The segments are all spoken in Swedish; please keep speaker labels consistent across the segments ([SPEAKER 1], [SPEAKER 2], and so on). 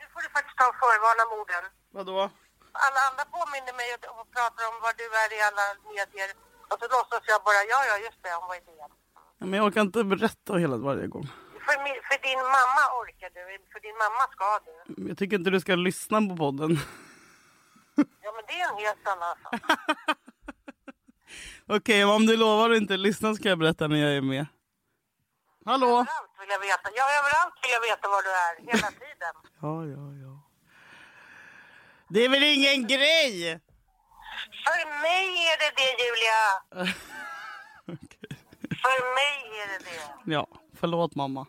[SPEAKER 1] de förvarna morden.
[SPEAKER 2] Vadå?
[SPEAKER 1] Alla andra påminner mig och och pratar om vad du är i alla medier. Och så låtsas jag bara, ja, ja, just det, hon var idén.
[SPEAKER 2] Ja, Men jag orkar inte berätta hela varje gång.
[SPEAKER 1] För, mi- för din mamma orkar du, för din mamma ska du.
[SPEAKER 2] Jag tycker inte du ska lyssna på podden.
[SPEAKER 1] Ja, men det är en helt annan sak.
[SPEAKER 2] Okej, men om du lovar att inte lyssna ska jag berätta när jag är med. Hallå?
[SPEAKER 1] Överallt vill jag veta. Ja, överallt vill jag veta var du är, hela tiden.
[SPEAKER 2] Ja, ja, ja. Det är väl ingen grej?
[SPEAKER 1] För mig är det det, Julia.
[SPEAKER 2] Okej.
[SPEAKER 1] För mig är det det.
[SPEAKER 2] Ja, förlåt mamma.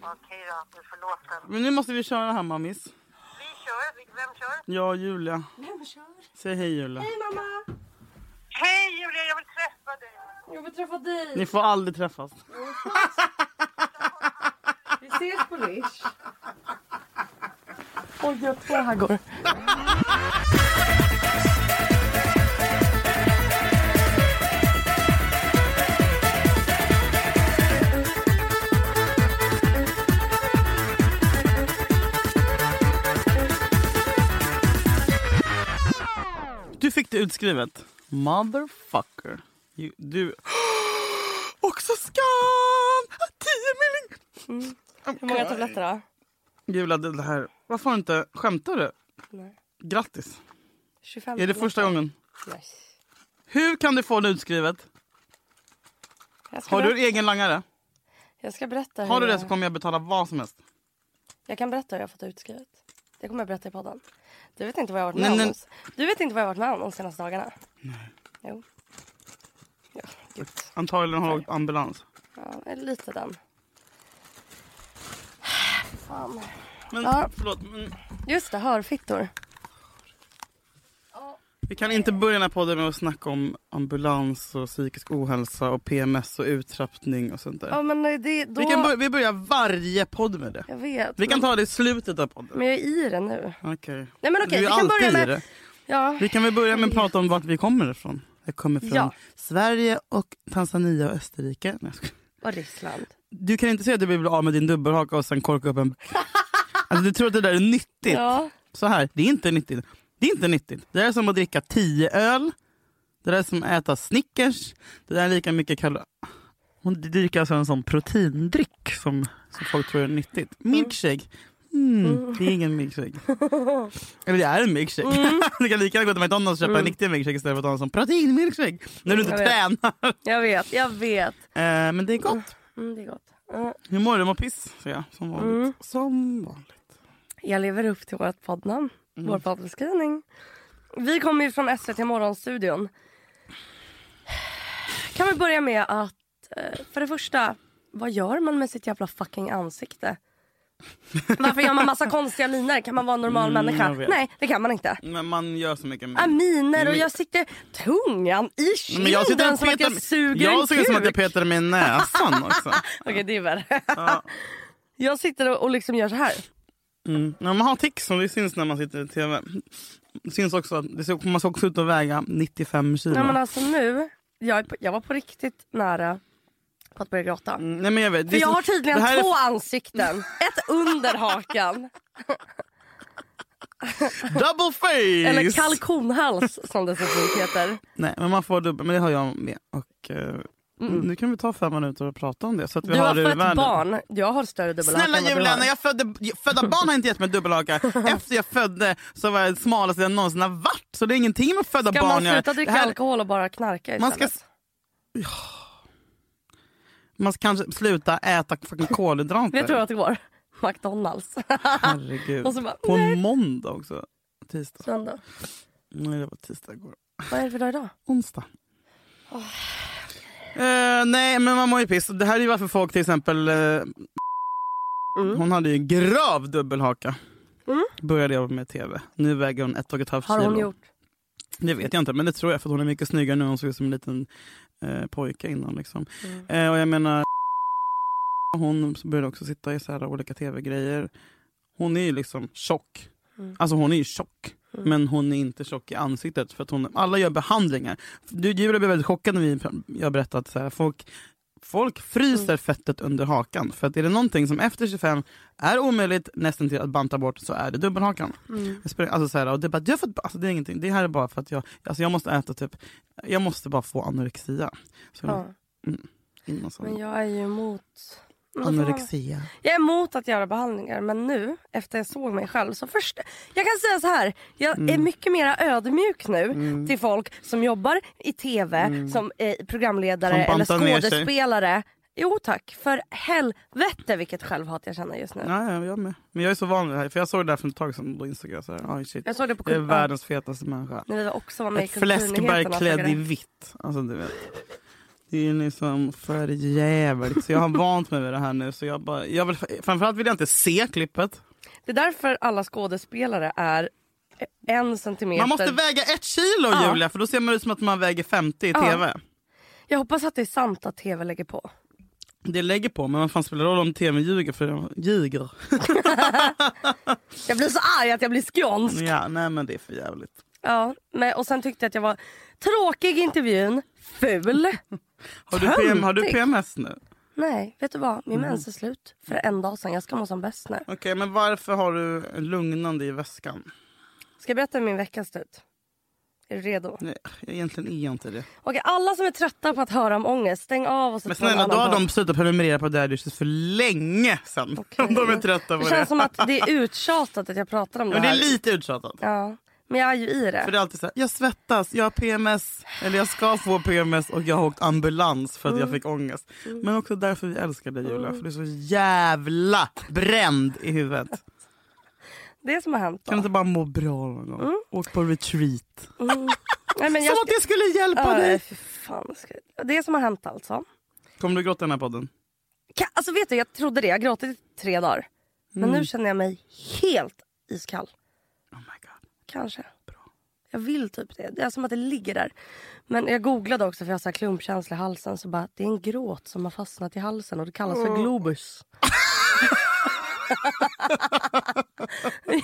[SPEAKER 1] Okej då, du är förlåten.
[SPEAKER 2] Men nu måste vi köra här mammis.
[SPEAKER 1] Vi kör. Vi- Vem kör?
[SPEAKER 2] Ja, Julia.
[SPEAKER 3] Vem kör?
[SPEAKER 2] Säg hej Julia.
[SPEAKER 3] Hej mamma!
[SPEAKER 1] Hej Julia, jag vill träffa dig.
[SPEAKER 3] Jag vill träffa dig.
[SPEAKER 2] Ni får aldrig träffas.
[SPEAKER 3] Vi ses på Rish.
[SPEAKER 2] Oj, jag tror här går. Du fick det utskrivet. Motherfucker. You, du... Också skam! 10 miljoner!
[SPEAKER 3] Hur många tabletter då?
[SPEAKER 2] Julia, det det här... Varför har du inte... Skämtar du?
[SPEAKER 3] Nej.
[SPEAKER 2] Grattis!
[SPEAKER 3] 25
[SPEAKER 2] Är det första gången?
[SPEAKER 3] Yes.
[SPEAKER 2] Hur kan du få det utskrivet?
[SPEAKER 3] Jag ska,
[SPEAKER 2] Har du en
[SPEAKER 3] berätta, Eh.
[SPEAKER 2] egen langare?
[SPEAKER 3] jag ska berätta hur
[SPEAKER 2] Har du det
[SPEAKER 3] jag,
[SPEAKER 2] så kommer jag betala vad som helst.
[SPEAKER 3] jag kan berätta hur jag fått utskrivet. Det kommer jag berätta i podden. Du vet inte vad jag har varit
[SPEAKER 2] Nej,
[SPEAKER 3] med
[SPEAKER 2] nej.
[SPEAKER 3] om. Du vet inte vad jag har varit med om de senaste dagarna. Nej. Jo. Ja, gud.
[SPEAKER 2] Antagligen har du åkt ambulans.
[SPEAKER 3] Ja, lite den. Fan.
[SPEAKER 2] Men
[SPEAKER 3] Ja.
[SPEAKER 2] förlåt, men
[SPEAKER 3] Just det, hörfittor.
[SPEAKER 2] vi kan inte börja den här podden med att snacka om ambulans och psykisk ohälsa och PMS och uttrappning och sånt där.
[SPEAKER 3] Ja men det, då...
[SPEAKER 2] Vi, kan börja, vi börjar varje podd med det.
[SPEAKER 3] Jag vet.
[SPEAKER 2] Vi kan
[SPEAKER 3] men-
[SPEAKER 2] ta det i slutet av podden.
[SPEAKER 3] Men jag är i det nu.
[SPEAKER 2] Okej.
[SPEAKER 3] Nej men
[SPEAKER 2] Du
[SPEAKER 3] okej,
[SPEAKER 2] är
[SPEAKER 3] vi kan
[SPEAKER 2] alltid
[SPEAKER 3] börja
[SPEAKER 2] i
[SPEAKER 3] med...
[SPEAKER 2] det.
[SPEAKER 3] Ja,
[SPEAKER 2] Vi kan väl börja med att prata om vart vi kommer ifrån. Jag kommer från
[SPEAKER 3] Ja.
[SPEAKER 2] Sverige och Tanzania och Österrike. Nej, jag skojar.
[SPEAKER 3] och Ryssland.
[SPEAKER 2] Du kan inte säga att du vill bli av med din dubbelhaka och sen korka upp en... Alltså, du tror att det där är nyttigt.
[SPEAKER 3] Ja,
[SPEAKER 2] Så här, det är inte nyttigt. Det är inte nyttigt. Det där är som att dricka 10 öl. Det där är som att äta Snickers. Det där är lika mycket kalorier. Hon dricker alltså en sån proteindryck som, som folk tror är nyttigt. Milkshake. Mm, det är ingen milkshake. Eller det är en milkshake.
[SPEAKER 3] Mm.
[SPEAKER 2] Du kan lika gärna gå till McDonalds och köpa en riktig milkshake istället för att ha en sån proteinmilkshake. När du inte
[SPEAKER 3] Jag vet.
[SPEAKER 2] tränar.
[SPEAKER 3] jag vet, jag vet.
[SPEAKER 2] Eh, men det är gott.
[SPEAKER 3] Mm, det är gott. Mm.
[SPEAKER 2] Hur mår du? Mår piss, säger jag. Som vanligt. Som vanligt.
[SPEAKER 3] Jag lever upp till vårt poddnamn,
[SPEAKER 2] Mm.
[SPEAKER 3] vår poddbeskrivning. Vi kommer ju från SVT Morgonstudion. Kan vi börja med att, eh, för det första, vad gör man med sitt jävla fucking ansikte? Varför gör man massa konstiga linor? Kan man vara en normal
[SPEAKER 2] Mm,
[SPEAKER 3] människa?
[SPEAKER 2] jag vet.
[SPEAKER 3] Nej, det kan man inte.
[SPEAKER 2] Men man gör så mycket mer.
[SPEAKER 3] Ah, Miner och
[SPEAKER 2] Men-
[SPEAKER 3] jag sitter tungan i kinden
[SPEAKER 2] Men jag sitter och
[SPEAKER 3] som att
[SPEAKER 2] petar
[SPEAKER 3] jag
[SPEAKER 2] mig-
[SPEAKER 3] suger en
[SPEAKER 2] Jag ser ut
[SPEAKER 3] kuk.
[SPEAKER 2] som att jag petade mig i näsan också.
[SPEAKER 3] Okej, det är värre.
[SPEAKER 2] Ja.
[SPEAKER 3] Jag sitter och, och liksom gör så här.
[SPEAKER 2] Mm. När man har tics som det syns när man sitter i tv. Det syns också att det ser, man ser också ut att väga 95 kilo.
[SPEAKER 3] Nej, men alltså nu, jag, är på, jag var på riktigt nära på att börja gråta.
[SPEAKER 2] Mm, Nej, men jag vet.
[SPEAKER 3] För
[SPEAKER 2] Det är
[SPEAKER 3] jag
[SPEAKER 2] så-
[SPEAKER 3] har tydligen
[SPEAKER 2] det här är-
[SPEAKER 3] två ansikten. Ett under hakan.
[SPEAKER 2] Double face!
[SPEAKER 3] Eller kalkonhals som det så fint heter.
[SPEAKER 2] Nej, men man får dubbel. Men det har jag med. Och, eh, Nu kan vi ta fem minuter och prata om det. Så att vi
[SPEAKER 3] Mm. Du har
[SPEAKER 2] har det i
[SPEAKER 3] fött
[SPEAKER 2] världen.
[SPEAKER 3] barn. Jag har större dubbelhaka
[SPEAKER 2] Snälla
[SPEAKER 3] än vad du
[SPEAKER 2] Julia,
[SPEAKER 3] har.
[SPEAKER 2] när jag födde, födda barn har inte gett mig dubbelhaka. Efter jag födde så var jag den smalaste jag någonsin har varit. Så det är ingenting med att födda
[SPEAKER 3] Ska
[SPEAKER 2] barn
[SPEAKER 3] man
[SPEAKER 2] att göra.
[SPEAKER 3] sluta dricka
[SPEAKER 2] Det här-
[SPEAKER 3] alkohol och bara knarka
[SPEAKER 2] Man ska-
[SPEAKER 3] istället?
[SPEAKER 2] Man ska kanske sluta äta fucking kolhydrater.
[SPEAKER 3] Vet du vad det går? McDonalds.
[SPEAKER 2] Herregud.
[SPEAKER 3] Och så bara,
[SPEAKER 2] På en måndag också. Tisdag.
[SPEAKER 3] Söndag.
[SPEAKER 2] Nej, det var tisdag igår.
[SPEAKER 3] Vad är det för dag idag?
[SPEAKER 2] Onsdag. Eh, nej, men man mår ju piss. Det här är ju varför folk till exempel... eh,
[SPEAKER 3] Mm.
[SPEAKER 2] Hon hade ju en grav dubbelhaka.
[SPEAKER 3] Mm.
[SPEAKER 2] Började jobba med tv. Nu väger hon ett och ett halvt
[SPEAKER 3] Har hon
[SPEAKER 2] kilo.
[SPEAKER 3] gjort?
[SPEAKER 2] Det vet jag inte, men det tror jag för att hon är mycket snyggare nu. Hon såg ut som en liten eh, pojke innan. Liksom.
[SPEAKER 3] Mm.
[SPEAKER 2] Eh, och jag menar, hon började också sitta i så här olika tv-grejer. Hon är ju liksom tjock.
[SPEAKER 3] Mm.
[SPEAKER 2] Alltså hon är ju tjock.
[SPEAKER 3] Mm.
[SPEAKER 2] Men hon är inte tjock i ansiktet för att hon, alla gör behandlingar. Du Julia blev väldigt chockad när vi, jag berättade att så här, folk Folk fryser
[SPEAKER 3] Mm.
[SPEAKER 2] fettet under hakan. För att är det någonting som efter 25 är omöjligt nästan till att banta bort så är det dubbelhakan.
[SPEAKER 3] Mm.
[SPEAKER 2] Jag sprang, alltså så här, och det, är bara, jag har fått, alltså det är ingenting. Det här är bara för att jag, alltså jag måste äta typ, jag måste bara få anorexia. Så
[SPEAKER 3] Ja.
[SPEAKER 2] innan så-
[SPEAKER 3] Men jag är ju emot... Alltså,
[SPEAKER 2] Anorexia.
[SPEAKER 3] Jag är emot att göra behandlingar men nu efter jag såg mig själv så först... Jag kan säga så här. Jag
[SPEAKER 2] Mm.
[SPEAKER 3] är mycket mer ödmjuk nu till folk som jobbar i TV som eh,
[SPEAKER 2] Mm. Som
[SPEAKER 3] programledare eller
[SPEAKER 2] bantar ner sig.
[SPEAKER 3] skådespelare. Jo tack, för helvete vilket självhat jag känner just nu.
[SPEAKER 2] Ja, ja, jag med. Men jag är så van vid det här. För jag såg det där för ett tag sedan på Instagram. Så här, "Oj, shit.
[SPEAKER 3] Jag såg det på
[SPEAKER 2] Det är
[SPEAKER 3] Kuba.
[SPEAKER 2] världens fetaste människa.
[SPEAKER 3] När vi också var med i
[SPEAKER 2] Ett fläskberg
[SPEAKER 3] Kulturnyheterna såg jag
[SPEAKER 2] klädd i
[SPEAKER 3] det.
[SPEAKER 2] vitt. Alltså du vet. Det är liksom för jävligt. Så jag har vant mig vid det här nu. Så jag bara, jag vill, framförallt vill jag inte se klippet.
[SPEAKER 3] Det är därför alla skådespelare är en centimeter.
[SPEAKER 2] Man måste väga ett kilo
[SPEAKER 3] Ja.
[SPEAKER 2] Julia för då ser man ut som att man väger 50 i
[SPEAKER 3] Ja.
[SPEAKER 2] tv.
[SPEAKER 3] Jag hoppas att det är sant att TV lägger på.
[SPEAKER 2] Det lägger på men vad fan spelar det roll om tv ljuger för jag ljuger.
[SPEAKER 3] Jag blir så arg att jag blir skånsk.
[SPEAKER 2] Ja, nej men det är för jävligt.
[SPEAKER 3] Ja, men, och sen tyckte jag att jag var tråkig i intervjun, ful.
[SPEAKER 2] Har du, PM, har du
[SPEAKER 3] Töntigt.
[SPEAKER 2] PMS nu?
[SPEAKER 3] Nej, vet du vad? Min mens är slut för en dag sedan. Jag ska må som bäst nu.
[SPEAKER 2] Okej men varför har du en lugnande i väskan?
[SPEAKER 3] Ska jag berätta hur min vecka ser ut? Är du redo?
[SPEAKER 2] Nej, egentligen är jag inte det.
[SPEAKER 3] Okej, alla som är trötta på att höra om ångest, stäng av och sätt
[SPEAKER 2] Men
[SPEAKER 3] på en
[SPEAKER 2] snälla, då
[SPEAKER 3] annan
[SPEAKER 2] har
[SPEAKER 3] podd.
[SPEAKER 2] de slutat prenumerera på Daddy Issues för länge sedan.
[SPEAKER 3] Okej.
[SPEAKER 2] Om de är trötta på
[SPEAKER 3] Det
[SPEAKER 2] det.
[SPEAKER 3] känns som att det är uttjatat att jag pratar om det
[SPEAKER 2] Men det
[SPEAKER 3] här.
[SPEAKER 2] är lite uttjatat.
[SPEAKER 3] Ja, men jag är ju i
[SPEAKER 2] För
[SPEAKER 3] det.
[SPEAKER 2] det är alltid så här, jag svettas, jag har PMS, eller jag ska få PMS och jag har åkt ambulans för att
[SPEAKER 3] Mm.
[SPEAKER 2] jag fick ångest. Men också därför vi älskar dig Julia, för du är så jävla bränd i huvudet. Kan
[SPEAKER 3] Det som har hänt då.
[SPEAKER 2] du inte bara må bra någon gång? Åk på retreat.
[SPEAKER 3] Nej, men Mm.
[SPEAKER 2] Som
[SPEAKER 3] jag ska-
[SPEAKER 2] att det skulle hjälpa
[SPEAKER 3] Ja, nej,
[SPEAKER 2] dig!
[SPEAKER 3] fy fan. vad ska jag- Det som har hänt alltså.
[SPEAKER 2] Kommer du gråta i den här podden?
[SPEAKER 3] Ka- Alltså vet du, jag trodde det. Jag har gråtit i tre dagar. Men
[SPEAKER 2] Mm.
[SPEAKER 3] nu känner jag mig helt iskall.
[SPEAKER 2] Oh my god.
[SPEAKER 3] Kanske. Jag vill typ det. Det är som att det ligger där. Men jag googlade också för jag har så här klumpkänsla i halsen. Så bara, det är en gråt som har fastnat i halsen och det kallas för globus.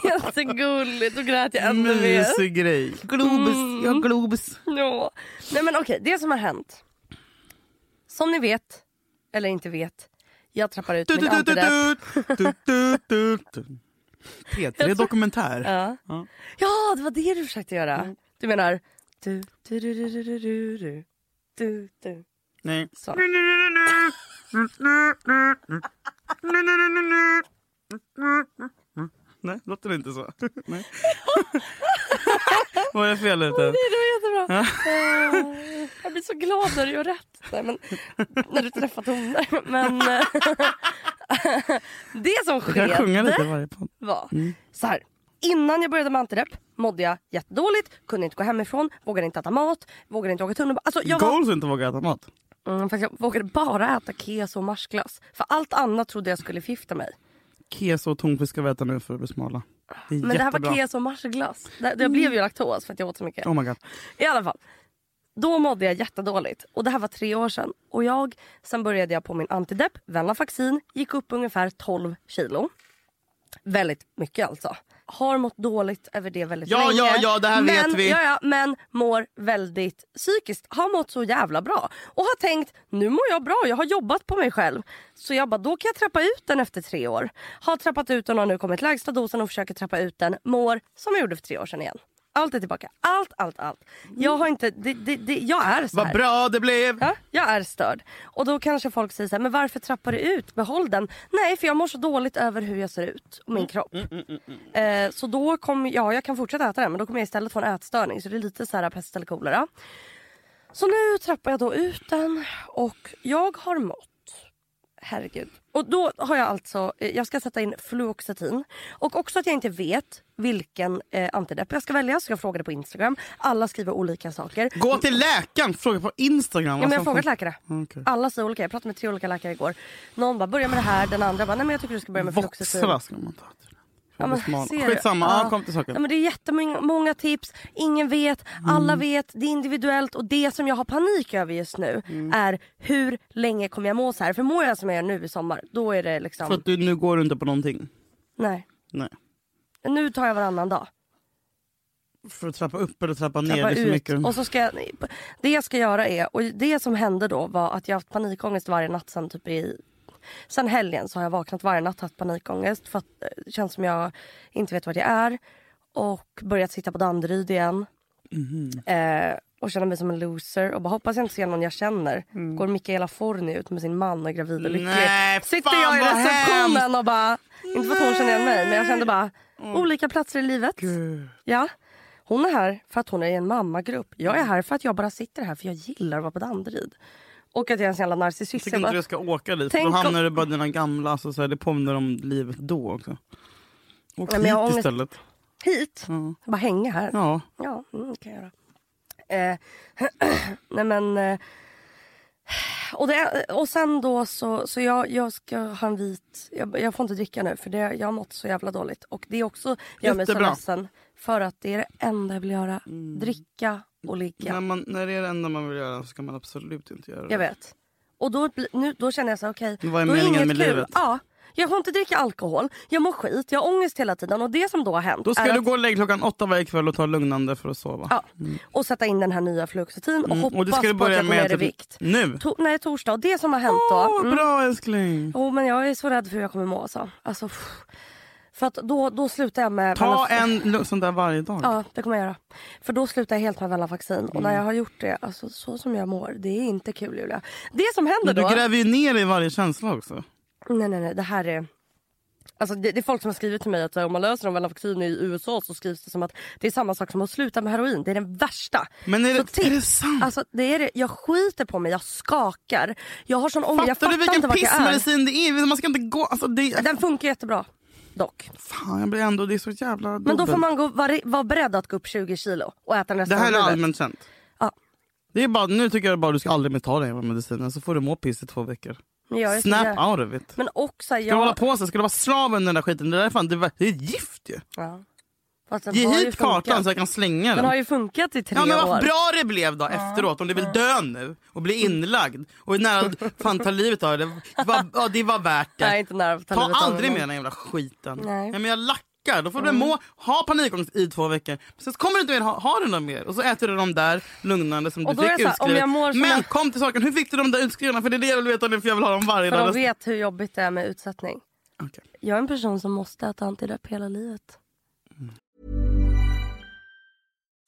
[SPEAKER 3] Jättegulligt. Då grät jag ännu mer.
[SPEAKER 2] Mysig grej. Mm. Globus, ja globus.
[SPEAKER 3] Ja. Nej men okej, det som har hänt. Som ni vet, eller inte vet, jag trappar ut min antidepp.
[SPEAKER 2] P3 Dokumentär.
[SPEAKER 3] Ja.
[SPEAKER 2] Ja.
[SPEAKER 3] ja, det var det du försökte göra. Du menar... Du, du, du, du, du, du, du, du, du, du.
[SPEAKER 2] Nej.
[SPEAKER 3] Så.
[SPEAKER 2] Nej, låter det inte så? Nej. Var jag fel ute?
[SPEAKER 3] Nej, det var jättebra. Eh, Jag blir så glad när du gör rätt. Nej, men, när du träffar toner. Men eh, det som
[SPEAKER 2] Jag kan sjunga
[SPEAKER 3] skedde
[SPEAKER 2] lite Mm. i varje podd.
[SPEAKER 3] var så här. Innan jag började med antidepp mådde jag jättedåligt, kunde inte gå hemifrån, vågade inte äta mat, vågade inte åka tunnelbana. Alltså, jag, var,
[SPEAKER 2] Goals inte vågar äta mat.
[SPEAKER 3] mm, fast jag vågade bara äta keso och marsglass. För allt annat trodde jag skulle förgifta mig.
[SPEAKER 2] Keso och tonfisk ska vi äta nu för att bli smala. Det är
[SPEAKER 3] Men
[SPEAKER 2] jättebra. Mm.
[SPEAKER 3] det här var keso och marsglass. Det, jag blev ju laktos för att jag åt så mycket.
[SPEAKER 2] Oh my god.
[SPEAKER 3] I alla fall. Då mådde jag jättedåligt. Och det här var tre år sedan. Och jag, sen började jag på min antidepp, Venlafaxin. Gick upp ungefär 12 kilo. Väldigt mycket alltså. Har mått dåligt över det väldigt
[SPEAKER 2] Ja,
[SPEAKER 3] länge.
[SPEAKER 2] ja, ja, det här
[SPEAKER 3] men,
[SPEAKER 2] vet vi.
[SPEAKER 3] Ja, ja, men mår väldigt psykiskt. Har mått så jävla bra. Och har tänkt, nu mår jag bra. Jag har jobbat på mig själv. Så jag bara, då kan jag trappa ut den efter tre år. Har trappat ut den och har nu kommit lägsta dosen och försöker trappa ut den. Mår som jag gjorde för tre år sedan igen. Allt är tillbaka. Allt, allt, allt. Jag har inte... Det, det, det, jag är så
[SPEAKER 2] Vad
[SPEAKER 3] här.
[SPEAKER 2] bra det blev!
[SPEAKER 3] Ja, jag är störd. Och då kanske folk säger så här, men varför trappar du ut? Behåll den. Nej, för jag mår så dåligt över hur jag ser ut och min kropp. Eh, så då kommer, ja jag kan fortsätta äta den men då kommer jag istället få en ätstörning. Så det är lite så här pest eller kolera. Så nu trappar jag då ut den och jag har mått. Herregud. Och då har jag alltså, eh, jag ska sätta in fluoxetin. Och också att jag inte vet vilken eh, antidepp jag ska välja. Så jag frågade på Instagram. Alla skriver olika saker.
[SPEAKER 2] Gå Alltså, till läkaren! Fråga på Instagram.
[SPEAKER 3] Ja, men jag har frågat läkare.
[SPEAKER 2] Ah, Okej.
[SPEAKER 3] Alla säger olika. Jag pratade med tre olika läkare igår. Någon bara, börja med det här. Den andra bara, nej men jag tycker du ska börja med fluoxetin.
[SPEAKER 2] Voxla ska man ta. till. För
[SPEAKER 3] Ja,
[SPEAKER 2] att
[SPEAKER 3] men
[SPEAKER 2] bli smal.
[SPEAKER 3] ser du?
[SPEAKER 2] Skitsamma, ja. kom till saken.
[SPEAKER 3] Ja, men det är jättemånga många tips. Ingen vet,
[SPEAKER 2] Mm.
[SPEAKER 3] alla vet, det är individuellt. Och det som jag har panik över just nu
[SPEAKER 2] Mm.
[SPEAKER 3] är hur länge kommer jag må så här? För mår jag som jag gör nu i sommar, då är det liksom...
[SPEAKER 2] För att du, nu går du inte på någonting.
[SPEAKER 3] Nej.
[SPEAKER 2] Nej.
[SPEAKER 3] Nu tar jag varannan dag.
[SPEAKER 2] För att trappa upp eller trappa, ner?
[SPEAKER 3] trappa
[SPEAKER 2] Det är så
[SPEAKER 3] ut.
[SPEAKER 2] mycket.
[SPEAKER 3] Och så ska jag, det jag ska göra är, och det som hände då var att jag haft panikångest varje natt sen typ i Sen helgen så har jag vaknat varje natt haft panikångest för att eh, det känns som jag inte vet vad jag är. Och börjat sitta på Danderyd igen.
[SPEAKER 2] Mhm.
[SPEAKER 3] Eh, och känner mig som en loser och bara hoppas jag inte ser någon jag känner. Går Mikaela Forni ut med sin man och är gravid och lycklig.
[SPEAKER 2] Mm. Nej, fan,
[SPEAKER 3] Sitter jag i
[SPEAKER 2] vad
[SPEAKER 3] receptionen
[SPEAKER 2] hemskt. Mm.
[SPEAKER 3] och bara, inte för att hon känner igen mig men jag kände bara, olika platser i livet. Ja. Hon är här för att hon är i en mammagrupp. Jag är här för att jag bara sitter här för jag gillar att vara på Danderyd. Och att jag är en sån jävla
[SPEAKER 2] Jag
[SPEAKER 3] narcissist.
[SPEAKER 2] tycker
[SPEAKER 3] Jag
[SPEAKER 2] inte
[SPEAKER 3] bara,
[SPEAKER 2] du ska åka dit.
[SPEAKER 3] Tänk
[SPEAKER 2] Tänk då
[SPEAKER 3] om-
[SPEAKER 2] hamnar du bara i dina gamla, alltså, så här, det påminner om livet då också. Åk
[SPEAKER 3] Ja, men jag
[SPEAKER 2] hit
[SPEAKER 3] har ångest.
[SPEAKER 2] istället.
[SPEAKER 3] hit,
[SPEAKER 2] Ja.
[SPEAKER 3] bara hänga här.
[SPEAKER 2] Mm. Ja.
[SPEAKER 3] Ja, mm, kan jag göra. Eh, nej men... Eh, och, det, och sen då så, så jag, jag ska ha en vit... Jag, jag får inte dricka nu för det, jag har mått så jävla dåligt. Och det är också gör mig så
[SPEAKER 2] Jättebra. Mm.
[SPEAKER 3] ledsen. För att det är det enda jag vill göra. Dricka och ligga.
[SPEAKER 2] När, man, när det är det enda man vill göra så ska man absolut inte göra det.
[SPEAKER 3] Jag vet. Och då, bli- nu, då känner jag så här, okej.
[SPEAKER 2] Mm. Vad är
[SPEAKER 3] då
[SPEAKER 2] meningen
[SPEAKER 3] inget
[SPEAKER 2] med
[SPEAKER 3] kul.
[SPEAKER 2] livet?
[SPEAKER 3] Ja. Jag får inte dricka alkohol, jag mår skit, jag har ångest hela tiden. Och det som då har hänt
[SPEAKER 2] Då ska
[SPEAKER 3] är
[SPEAKER 2] du
[SPEAKER 3] att,
[SPEAKER 2] gå och lägga klockan åtta varje kväll och ta lugnande för att sova.
[SPEAKER 3] ja, och sätta in den här nya fluoxetin och hoppas
[SPEAKER 2] Mm, Och det ska du
[SPEAKER 3] på att
[SPEAKER 2] börja
[SPEAKER 3] jag går
[SPEAKER 2] med
[SPEAKER 3] ner i
[SPEAKER 2] typ
[SPEAKER 3] vikt.
[SPEAKER 2] nu.
[SPEAKER 3] To- nej, torsdag. Och det som har hänt då.
[SPEAKER 2] Åh,
[SPEAKER 3] Mm.
[SPEAKER 2] bra älskling!
[SPEAKER 3] Jo, men jag är så rädd för hur jag kommer må alltså. alltså pff. för att då, då slutar jag med...
[SPEAKER 2] Ta
[SPEAKER 3] Venlafax-
[SPEAKER 2] en lu- sån där varje dag.
[SPEAKER 3] alltså- Ja, det kommer jag göra. För då slutar jag helt med Venlafaxin. Och
[SPEAKER 2] Mm.
[SPEAKER 3] när jag har gjort det, alltså så som jag mår, det är inte kul Julia. Det som händer
[SPEAKER 2] Men du
[SPEAKER 3] då...
[SPEAKER 2] gräver ju ner dig i varje känsla också.
[SPEAKER 3] Nej, nej, nej. Det här är... Alltså, det, det är folk som har skrivit till mig att så här, om man löser om Venlafaxin i USA så skrivs det som att det är samma sak som att sluta med heroin. Det är den värsta.
[SPEAKER 2] Men är
[SPEAKER 3] Så
[SPEAKER 2] det, är det sant?
[SPEAKER 3] Alltså, det är det. Jag skiter på mig, jag skakar. Jag har sån ångest, jag
[SPEAKER 2] fattar du
[SPEAKER 3] fattar
[SPEAKER 2] vilken
[SPEAKER 3] inte vart jag är.
[SPEAKER 2] pissmedicin det är? Man ska inte gå... Alltså det,
[SPEAKER 3] Den funkar jättebra. Dock.
[SPEAKER 2] Fan, jag blir ändå... Det är så jävla
[SPEAKER 3] Men då
[SPEAKER 2] dubbelt.
[SPEAKER 3] får man gå, vara, vara beredd att gå upp 20 kilo och äta den
[SPEAKER 2] Det
[SPEAKER 3] resten
[SPEAKER 2] här är
[SPEAKER 3] av livet.
[SPEAKER 2] allmänt känt.
[SPEAKER 3] Ja.
[SPEAKER 2] Det är bara, nu tycker jag bara du ska aldrig mer ta den jävla medicinen så får du må piss i två veckor.
[SPEAKER 3] Men jag är så
[SPEAKER 2] Snap
[SPEAKER 3] jävla-
[SPEAKER 2] out of it. Ska
[SPEAKER 3] Men också
[SPEAKER 2] du hålla
[SPEAKER 3] jag...
[SPEAKER 2] på så? Ska du vara slav under den där skiten? Det där är fan, det, var- det är gift ju.
[SPEAKER 3] Ja. Fast den
[SPEAKER 2] Ge
[SPEAKER 3] har ju
[SPEAKER 2] hit kartan
[SPEAKER 3] funkat.
[SPEAKER 2] så jag kan slänga
[SPEAKER 3] Den har
[SPEAKER 2] den.
[SPEAKER 3] ju funkat i tre
[SPEAKER 2] Ja men
[SPEAKER 3] år.
[SPEAKER 2] vad bra det blev då efteråt om du vill dö nu och bli inlagd och är nära att fan ta livet av det. Det var, ja, det var värt
[SPEAKER 3] Jag är
[SPEAKER 2] det.
[SPEAKER 3] inte nära att
[SPEAKER 2] Ta
[SPEAKER 3] livet av
[SPEAKER 2] aldrig
[SPEAKER 3] honom.
[SPEAKER 2] med den jävla skiten.
[SPEAKER 3] Nej. Mm.
[SPEAKER 2] men jag lackar. Då får du må, ha panikångest i två veckor. Sen så kommer du inte mer ha, ha den där mer. Och så äter du de där lugnande som
[SPEAKER 3] Och
[SPEAKER 2] du
[SPEAKER 3] då är
[SPEAKER 2] fick
[SPEAKER 3] jag så här, om
[SPEAKER 2] utskrivet.
[SPEAKER 3] jag mår som
[SPEAKER 2] men
[SPEAKER 3] jag-
[SPEAKER 2] kom till saken, hur fick du de där utskrivna? För det är det jag vill veta nu för jag vill ha dem varje
[SPEAKER 3] För de
[SPEAKER 2] dag.
[SPEAKER 3] vet hur jobbigt det är med utsättning.
[SPEAKER 2] Okej.
[SPEAKER 3] Jag är en person som måste äta antidepp hela livet.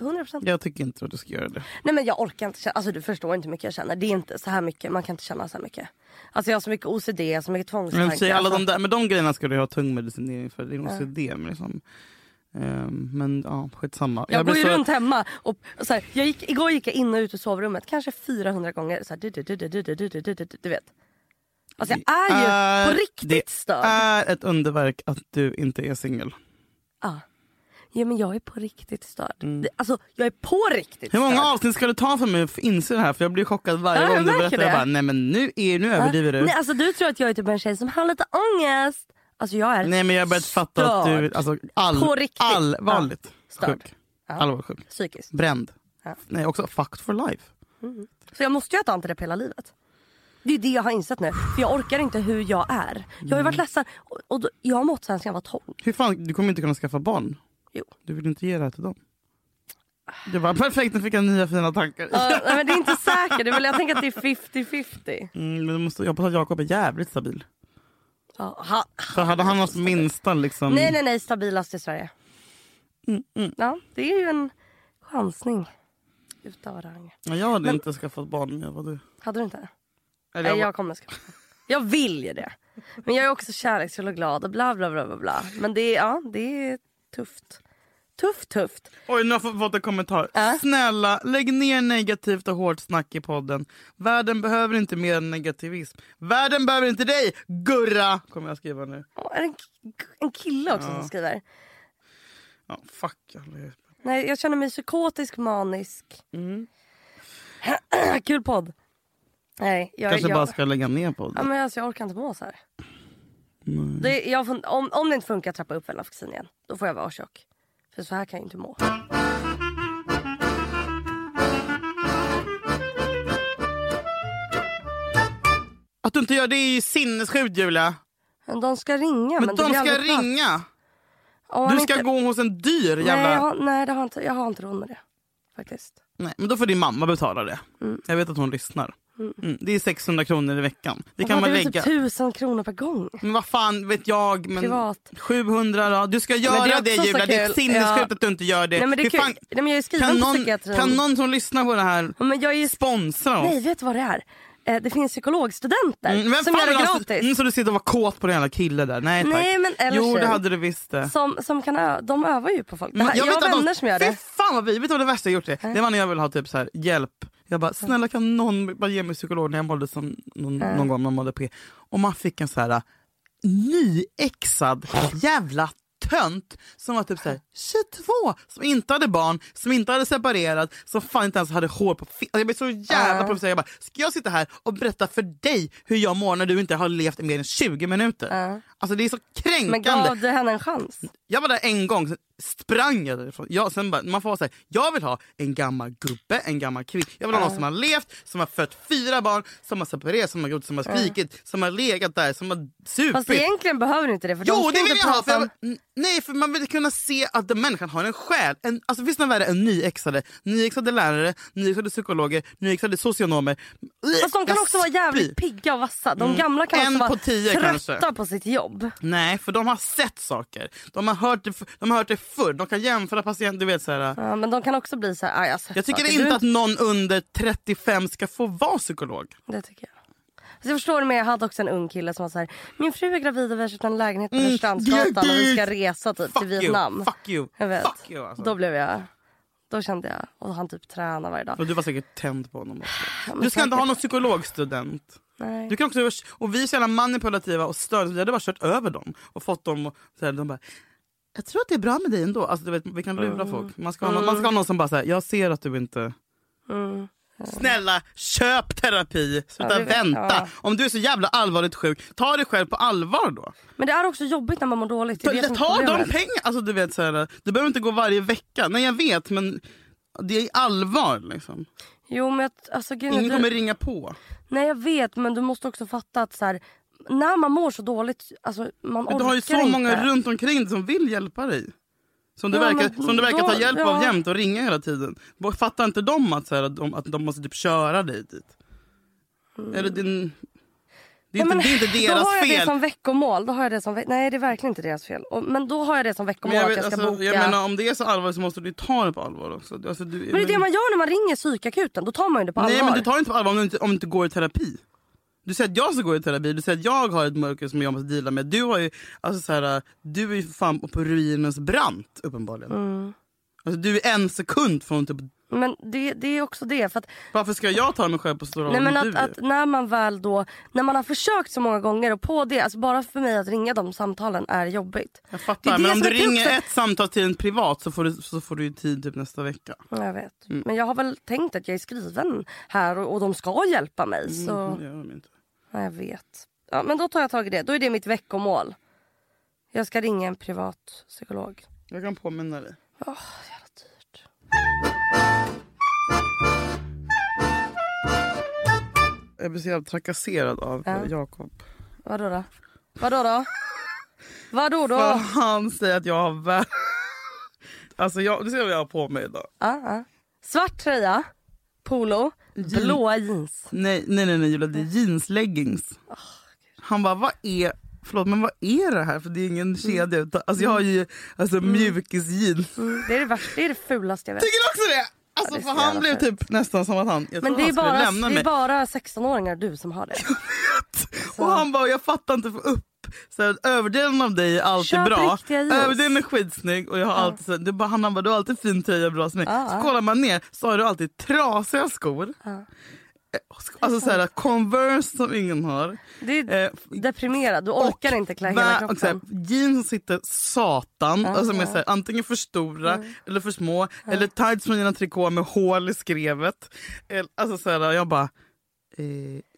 [SPEAKER 3] 100%.
[SPEAKER 2] Jag tycker inte att du ska göra det.
[SPEAKER 3] Nej men jag orkar inte känna, alltså du förstår inte hur mycket jag känner. Det är inte så här mycket, man kan inte känna så här mycket. Alltså jag har så mycket OCD, så mycket tvångstankar.
[SPEAKER 2] Men, säg, alla
[SPEAKER 3] alltså.
[SPEAKER 2] de, där, men de grejerna ska du ha tung medicinering för. Det är nog det. Men, liksom, ehm, men ja, skitsamma.
[SPEAKER 3] Jag, går
[SPEAKER 2] blir
[SPEAKER 3] ju
[SPEAKER 2] så-
[SPEAKER 3] runt hemma och och så här, jag gick, igår gick jag in och ut ur sovrummet kanske 400 gånger. Så här, du, du, du, du, du, du, du, du, du, du, du vet. Alltså jag är ju på riktigt
[SPEAKER 2] Det
[SPEAKER 3] störd.
[SPEAKER 2] är ett underverk att du inte är singel.
[SPEAKER 3] Ja. ja men jag är på riktigt störd. Det- Alltså jag är på riktigt
[SPEAKER 2] Mm. Hur många
[SPEAKER 3] störd.
[SPEAKER 2] avsnitt ska det ta för mig att inse det här? För jag blir chockad varje
[SPEAKER 3] Ja, jag
[SPEAKER 2] gång du
[SPEAKER 3] märker
[SPEAKER 2] berättar.
[SPEAKER 3] det.
[SPEAKER 2] Jag bara, nej men nu, är, nu överdriver du.
[SPEAKER 3] Nej, alltså du tror att jag är typ en tjej som har lite ångest. Alltså jag är
[SPEAKER 2] Nej men jag har börjat fatta att du
[SPEAKER 3] störd.
[SPEAKER 2] alltså, all,
[SPEAKER 3] På riktigt.
[SPEAKER 2] allvarligt
[SPEAKER 3] Störd.
[SPEAKER 2] sjuk. Allvarligt sjuk.
[SPEAKER 3] Psykiskt.
[SPEAKER 2] Bränd.
[SPEAKER 3] Ja.
[SPEAKER 2] Nej också fucked for life.
[SPEAKER 3] Så jag måste ju äta antidepp hela livet. Det är det jag har insett nu. För jag orkar inte hur jag är. Jag har ju
[SPEAKER 2] Mm.
[SPEAKER 3] varit ledsen och, och då, jag har mått sen jag var 12.
[SPEAKER 2] Hur fan, du kommer inte kunna skaffa barn.
[SPEAKER 3] Jo.
[SPEAKER 2] Du vill inte ge det här till dem. Det var perfekt, nu fick jag nya fina tankar.
[SPEAKER 3] Ja, nej, men det är inte säkert. Det är väl- Jag tänker att det är 50-50.
[SPEAKER 2] Mm, men du måste, jag hoppas att Jakob är jävligt stabil.
[SPEAKER 3] Ja, ha-
[SPEAKER 2] För hade han haft minsta liksom...
[SPEAKER 3] nej, nej, nej.
[SPEAKER 2] Mm,
[SPEAKER 3] Stabilast i Sverige. Ja, det är ju en chansning. Utan rang.
[SPEAKER 2] Ja, Jag hade inte skaffat barn om jag var du.
[SPEAKER 3] Hade du inte?
[SPEAKER 2] Eller
[SPEAKER 3] Nej,
[SPEAKER 2] jag,
[SPEAKER 3] jag kommer skaffa. Jag vill ju det. Men jag är också kärleksfull och glad och bla bla bla bla bla. Men det är, ja, det är tufft. Tufft, tufft.
[SPEAKER 2] Oj, nu har jag fått en kommentar.
[SPEAKER 3] Äh?
[SPEAKER 2] Snälla, lägg ner negativt och hårt snack i podden. Världen behöver inte mer negativism. Världen behöver inte dig, Gurra! Kommer jag skriva nu.
[SPEAKER 3] Åh, är det en, k- en kille också som skriver?
[SPEAKER 2] Ja, fuck. alla er.
[SPEAKER 3] Nej, jag känner mig psykotisk, manisk.
[SPEAKER 2] Mm.
[SPEAKER 3] Kul podd. Nej, jag,
[SPEAKER 2] Kanske
[SPEAKER 3] jag,
[SPEAKER 2] bara ska lägga ner
[SPEAKER 3] ja,
[SPEAKER 2] podden.
[SPEAKER 3] men alltså, jag orkar inte må så här. Det, jag, fun- om, om det inte funkar trappa upp Venlafaxin igen. Då får jag vara tjock. För så här kan jag inte må.
[SPEAKER 2] Att du inte gör det är ju sinnessjukt, Julia.
[SPEAKER 3] Men de ska ringa. Men,
[SPEAKER 2] Men
[SPEAKER 3] det
[SPEAKER 2] de
[SPEAKER 3] blir
[SPEAKER 2] ska
[SPEAKER 3] aldrig plats.
[SPEAKER 2] ringa.
[SPEAKER 3] Om
[SPEAKER 2] Du
[SPEAKER 3] man
[SPEAKER 2] ska
[SPEAKER 3] inte-
[SPEAKER 2] gå hos en dyr
[SPEAKER 3] Nej, jag
[SPEAKER 2] jävla...
[SPEAKER 3] har, nej det har inte, jag har inte råd med det. Faktiskt.
[SPEAKER 2] Nej, men då får din mamma betala det.
[SPEAKER 3] Mm.
[SPEAKER 2] Jag vet att hon lyssnar. Mm. Det är 600 kronor i veckan. Det kan
[SPEAKER 3] Fan,
[SPEAKER 2] man
[SPEAKER 3] det är väl
[SPEAKER 2] lägga.
[SPEAKER 3] typ tusen kronor per gång.
[SPEAKER 2] Men vad fan vet jag. Men
[SPEAKER 3] Privat.
[SPEAKER 2] 700 då. Du ska
[SPEAKER 3] det är
[SPEAKER 2] göra
[SPEAKER 3] också
[SPEAKER 2] det,
[SPEAKER 3] så
[SPEAKER 2] Julia. Det är
[SPEAKER 3] kul.
[SPEAKER 2] sinnessjukt
[SPEAKER 3] Ja.
[SPEAKER 2] att du inte gör det.
[SPEAKER 3] Nej men det är
[SPEAKER 2] Hur
[SPEAKER 3] kul.
[SPEAKER 2] fan-
[SPEAKER 3] Nej, men jag är skriven
[SPEAKER 2] Kan
[SPEAKER 3] på
[SPEAKER 2] någon,
[SPEAKER 3] psykiatrin.
[SPEAKER 2] kan någon som lyssnar på det här
[SPEAKER 3] Men jag är ju...
[SPEAKER 2] sponsra oss?
[SPEAKER 3] Nej vet du vad det är? Eh, det finns psykologstudenter
[SPEAKER 2] Mm, vem
[SPEAKER 3] som
[SPEAKER 2] fan
[SPEAKER 3] gör
[SPEAKER 2] vill
[SPEAKER 3] det
[SPEAKER 2] ha-
[SPEAKER 3] gratis.
[SPEAKER 2] Mm, så du sitter och var kåt på den jävla killen där. Nej tack.
[SPEAKER 3] Nej, men eller
[SPEAKER 2] jo
[SPEAKER 3] tjej.
[SPEAKER 2] det hade du visst det.
[SPEAKER 3] Som, som kan ö- de övar ju på folk. Det
[SPEAKER 2] Men
[SPEAKER 3] här, jag,
[SPEAKER 2] Mm, vet
[SPEAKER 3] har
[SPEAKER 2] att de-
[SPEAKER 3] vänner som gör det.
[SPEAKER 2] Fy fan vad vi, vet du vad det värsta jag gjort det? Det var när jag ville ha typ så här, hjälp. Jag bara, snälla kan någon bara ge mig psykolog när jag mådde som någon, någon gång man mådde P. Och man fick en så här äh, nyexad jävla tönt som var typ så här 22, som inte hade barn, som inte hade separerat, som fan inte ens hade hår på fi- alltså Jag blev så jävla provocerad. Jag bara, ska jag sitta här och berätta för dig hur jag mår när du inte har levt i mer än 20 minuter? Alltså det är så kränkande.
[SPEAKER 3] Men gav du henne en chans?
[SPEAKER 2] Jag var där en gång, sen sprang jag därifrån. Jag, sen bara, man får vara så här, jag vill ha en gammal gubbe, en gammal kvinna. Jag vill ha någon som har levt, som har fött fyra barn, som har separerat, som har gjort, som har skrikit, som har legat där, som har
[SPEAKER 3] Fast
[SPEAKER 2] supit.
[SPEAKER 3] egentligen behöver du inte det. För de
[SPEAKER 2] Jo,
[SPEAKER 3] ska
[SPEAKER 2] det
[SPEAKER 3] inte
[SPEAKER 2] vill jag ha! För
[SPEAKER 3] prata
[SPEAKER 2] jag,
[SPEAKER 3] om-
[SPEAKER 2] n- nej, för man vill kunna se att den människan har en själ. En, alltså, finns det något värre än nyexade? Nyexade lärare, nyexade psykologer, nyexade socionomer.
[SPEAKER 3] Fast de kan
[SPEAKER 2] Jag
[SPEAKER 3] också vara jävligt
[SPEAKER 2] spyr.
[SPEAKER 3] pigga och vassa. De gamla kan
[SPEAKER 2] En
[SPEAKER 3] också vara
[SPEAKER 2] på tio
[SPEAKER 3] trötta
[SPEAKER 2] kanske.
[SPEAKER 3] på sitt jobb.
[SPEAKER 2] Nej, för de har sett saker. De har hört det, f- de har hört det förr. De kan jämföra patienter. Du vet, så här,
[SPEAKER 3] Ja, men de kan också bli så här, "Ah, jag, har sett
[SPEAKER 2] Jag tycker
[SPEAKER 3] saker."
[SPEAKER 2] inte
[SPEAKER 3] Du-
[SPEAKER 2] att någon under 35 ska få vara psykolog.
[SPEAKER 3] Det tycker jag. Alltså jag förstår det men jag hade också en ung kille som var så här. Min fru är gravid och vi har köpt en lägenhet på
[SPEAKER 2] Mm,
[SPEAKER 3] Rörstrandsgatan och vi ska
[SPEAKER 2] gud.
[SPEAKER 3] resa typ,
[SPEAKER 2] Fuck
[SPEAKER 3] till Vietnam.
[SPEAKER 2] you, fuck you,
[SPEAKER 3] Jag vet.
[SPEAKER 2] fuck you alltså.
[SPEAKER 3] Då blev jag... Då kände jag... Och han typ tränar varje dag.
[SPEAKER 2] Och du var säkert tänd på honom också.
[SPEAKER 3] men
[SPEAKER 2] Du ska inte
[SPEAKER 3] säkert.
[SPEAKER 2] ha någon psykologstudent.
[SPEAKER 3] Nej.
[SPEAKER 2] Du kan också, och vi är så jävla manipulativa och störda. Vi hade bara kört över dem och fått dem och, så här, de bara jag tror att det är bra med dig ändå. Alltså, du vet, vi kan
[SPEAKER 3] Mm.
[SPEAKER 2] lura folk. Man ska, ha någon, man ska ha någon som bara säger jag ser att du inte... Snälla, köp terapi! Sluta
[SPEAKER 3] Mm. Ja, det-
[SPEAKER 2] vänta!
[SPEAKER 3] ja.
[SPEAKER 2] Om du är så jävla allvarligt sjuk, ta dig själv på allvar då.
[SPEAKER 3] Men det är också jobbigt när man mår dåligt. Det är det som är
[SPEAKER 2] ta de
[SPEAKER 3] problemet.
[SPEAKER 2] pengarna! Alltså, du, vet, så här, du behöver inte gå varje vecka. Nej jag vet men det är allvar. Liksom.
[SPEAKER 3] Jo men jag- alltså grejen är
[SPEAKER 2] Ingen
[SPEAKER 3] att
[SPEAKER 2] kommer
[SPEAKER 3] vi...
[SPEAKER 2] ringa på.
[SPEAKER 3] Nej jag vet men du måste också fatta att så här, när man mår så dåligt, alltså man
[SPEAKER 2] Men
[SPEAKER 3] orkar
[SPEAKER 2] du har ju så
[SPEAKER 3] inte.
[SPEAKER 2] många runt omkring dig som vill hjälpa dig. Som du
[SPEAKER 3] Ja,
[SPEAKER 2] verkar,
[SPEAKER 3] men
[SPEAKER 2] som du verkar
[SPEAKER 3] då-
[SPEAKER 2] ta hjälp
[SPEAKER 3] ja.
[SPEAKER 2] av jämt och ringa hela tiden. Vad- Fattar inte de att, så här, att, de, att de måste typ köra dig dit? Eller din... Det är, inte,
[SPEAKER 3] Nej, Mm. men
[SPEAKER 2] det är inte
[SPEAKER 3] Då
[SPEAKER 2] deras
[SPEAKER 3] har jag det
[SPEAKER 2] fel.
[SPEAKER 3] som veckomål. Då har jag det som ve- Nej det är verkligen inte deras fel. Och, men då har jag det som
[SPEAKER 2] Men
[SPEAKER 3] veckomål
[SPEAKER 2] jag,
[SPEAKER 3] att
[SPEAKER 2] vet,
[SPEAKER 3] jag ska
[SPEAKER 2] alltså,
[SPEAKER 3] boka.
[SPEAKER 2] jag menar, om det är så allvarligt så måste du ju ta det på allvar också. Alltså, du,
[SPEAKER 3] Men det är det man gör när man ringer psykakuten. Då tar man ju det på allvar.
[SPEAKER 2] Nej men du tar det inte på allvar om du inte, om du inte går i terapi. Du säger att jag ska gå i terapi, du säger att jag har ett mörker som jag måste deala med. Du, har ju, alltså så här, du är ju för fan på ruinens brant uppenbarligen.
[SPEAKER 3] Mm.
[SPEAKER 2] Alltså, du är en sekund från typ,
[SPEAKER 3] Men det, det är också det. För att,
[SPEAKER 2] varför ska jag ta mig själv på stora
[SPEAKER 3] nej, men
[SPEAKER 2] allvar när
[SPEAKER 3] att, att
[SPEAKER 2] du är?
[SPEAKER 3] när man väl då, när man har försökt så många gånger och på det, alltså bara för mig att ringa de samtalen är jobbigt.
[SPEAKER 2] Jag
[SPEAKER 3] det är
[SPEAKER 2] fattar,
[SPEAKER 3] det
[SPEAKER 2] men om
[SPEAKER 3] som
[SPEAKER 2] du
[SPEAKER 3] är
[SPEAKER 2] ringer
[SPEAKER 3] kruxet.
[SPEAKER 2] ett samtal till en privat så får du, så får du ju tid typ nästa vecka.
[SPEAKER 3] Ja, Jag vet.
[SPEAKER 2] Mm.
[SPEAKER 3] Men jag har väl tänkt att jag är skriven här och, och de ska hjälpa mig. Så
[SPEAKER 2] Mm, det gör de inte.
[SPEAKER 3] ja, jag vet. Ja, men då tar jag tag i det. Då är det mitt veckomål. Jag ska ringa en privat psykolog.
[SPEAKER 2] Jag kan påminna dig.
[SPEAKER 3] Åh, jävla dyrt.
[SPEAKER 2] Jag blir så jävla trakasserad av ja. Jakob.
[SPEAKER 3] Vadå då? Vadå då? Vadå då?
[SPEAKER 2] För
[SPEAKER 3] Ja,
[SPEAKER 2] han säger att jag har värre... Alltså jag, du ser vad jag har på mig idag. ah.
[SPEAKER 3] ja. Svart tröja, polo, blåa jeans.
[SPEAKER 2] Nej, nej, nej, nej Julia, det är jeansleggings. Han bara, vad är, förlåt, men vad är det här? För det är ingen kedja. Utan, alltså jag har ju alltså, mjukisjeans.
[SPEAKER 3] Det är det värsta, det är det fulaste jag vet.
[SPEAKER 2] Tycker du också det? Alltså
[SPEAKER 3] det är
[SPEAKER 2] för
[SPEAKER 3] så
[SPEAKER 2] han
[SPEAKER 3] jävla
[SPEAKER 2] blev
[SPEAKER 3] fult.
[SPEAKER 2] typ nästan som att han, jag
[SPEAKER 3] Men
[SPEAKER 2] trodde
[SPEAKER 3] det är
[SPEAKER 2] han skulle
[SPEAKER 3] bara,
[SPEAKER 2] lämna
[SPEAKER 3] det är
[SPEAKER 2] mig.
[SPEAKER 3] bara 16-åringar du som har det.
[SPEAKER 2] Och han bara, jag fattar inte, få upp. Så här, överdelen av dig är alltid
[SPEAKER 3] Köp
[SPEAKER 2] bra.
[SPEAKER 3] riktiga jeans.
[SPEAKER 2] Överdelen är skitsnygg och jag har alltid, så här, det är bara, han bara, du har alltid fin tröja bra smink.
[SPEAKER 3] Ja,
[SPEAKER 2] så
[SPEAKER 3] ja.
[SPEAKER 2] kollar man ner så har du alltid trasiga skor. Eh, sk- Alltså så här, Converse som ingen har.
[SPEAKER 3] Du är
[SPEAKER 2] Eh, alltså,
[SPEAKER 3] deprimerad, du orkar inte klä hela
[SPEAKER 2] va- och så här,
[SPEAKER 3] kroppen.
[SPEAKER 2] jeans som sitter satan, alltså som är så här, antingen för stora
[SPEAKER 3] Mm.
[SPEAKER 2] eller för små. Eller tights från Gina Tricot med hål i skrevet. Eller- Alltså så här, jag bara... Eh,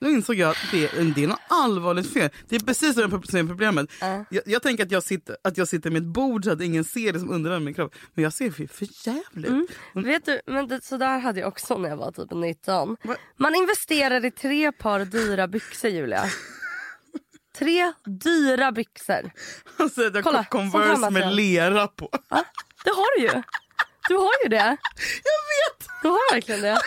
[SPEAKER 2] då insåg jag att det, det är något allvarligt fel. Det är precis det här pro- som är problemet. Jag, jag tänker att jag, sitter, att jag sitter med ett bord så att ingen ser det som underar min kropp. Men jag ser för, för jävligt
[SPEAKER 3] Mm.
[SPEAKER 2] ut.
[SPEAKER 3] Vet du, men det, så där hade jag också när jag var typ 19.
[SPEAKER 2] Va?
[SPEAKER 3] Man investerade i tre par dyra byxor Julia. tre dyra byxor.
[SPEAKER 2] Alltså, att jag
[SPEAKER 3] Kolla,
[SPEAKER 2] har
[SPEAKER 3] som
[SPEAKER 2] Converse
[SPEAKER 3] gammalt
[SPEAKER 2] med
[SPEAKER 3] jag.
[SPEAKER 2] lera på.
[SPEAKER 3] Va? Det har du ju. Du har ju det.
[SPEAKER 2] Jag vet!
[SPEAKER 3] Du har verkligen det.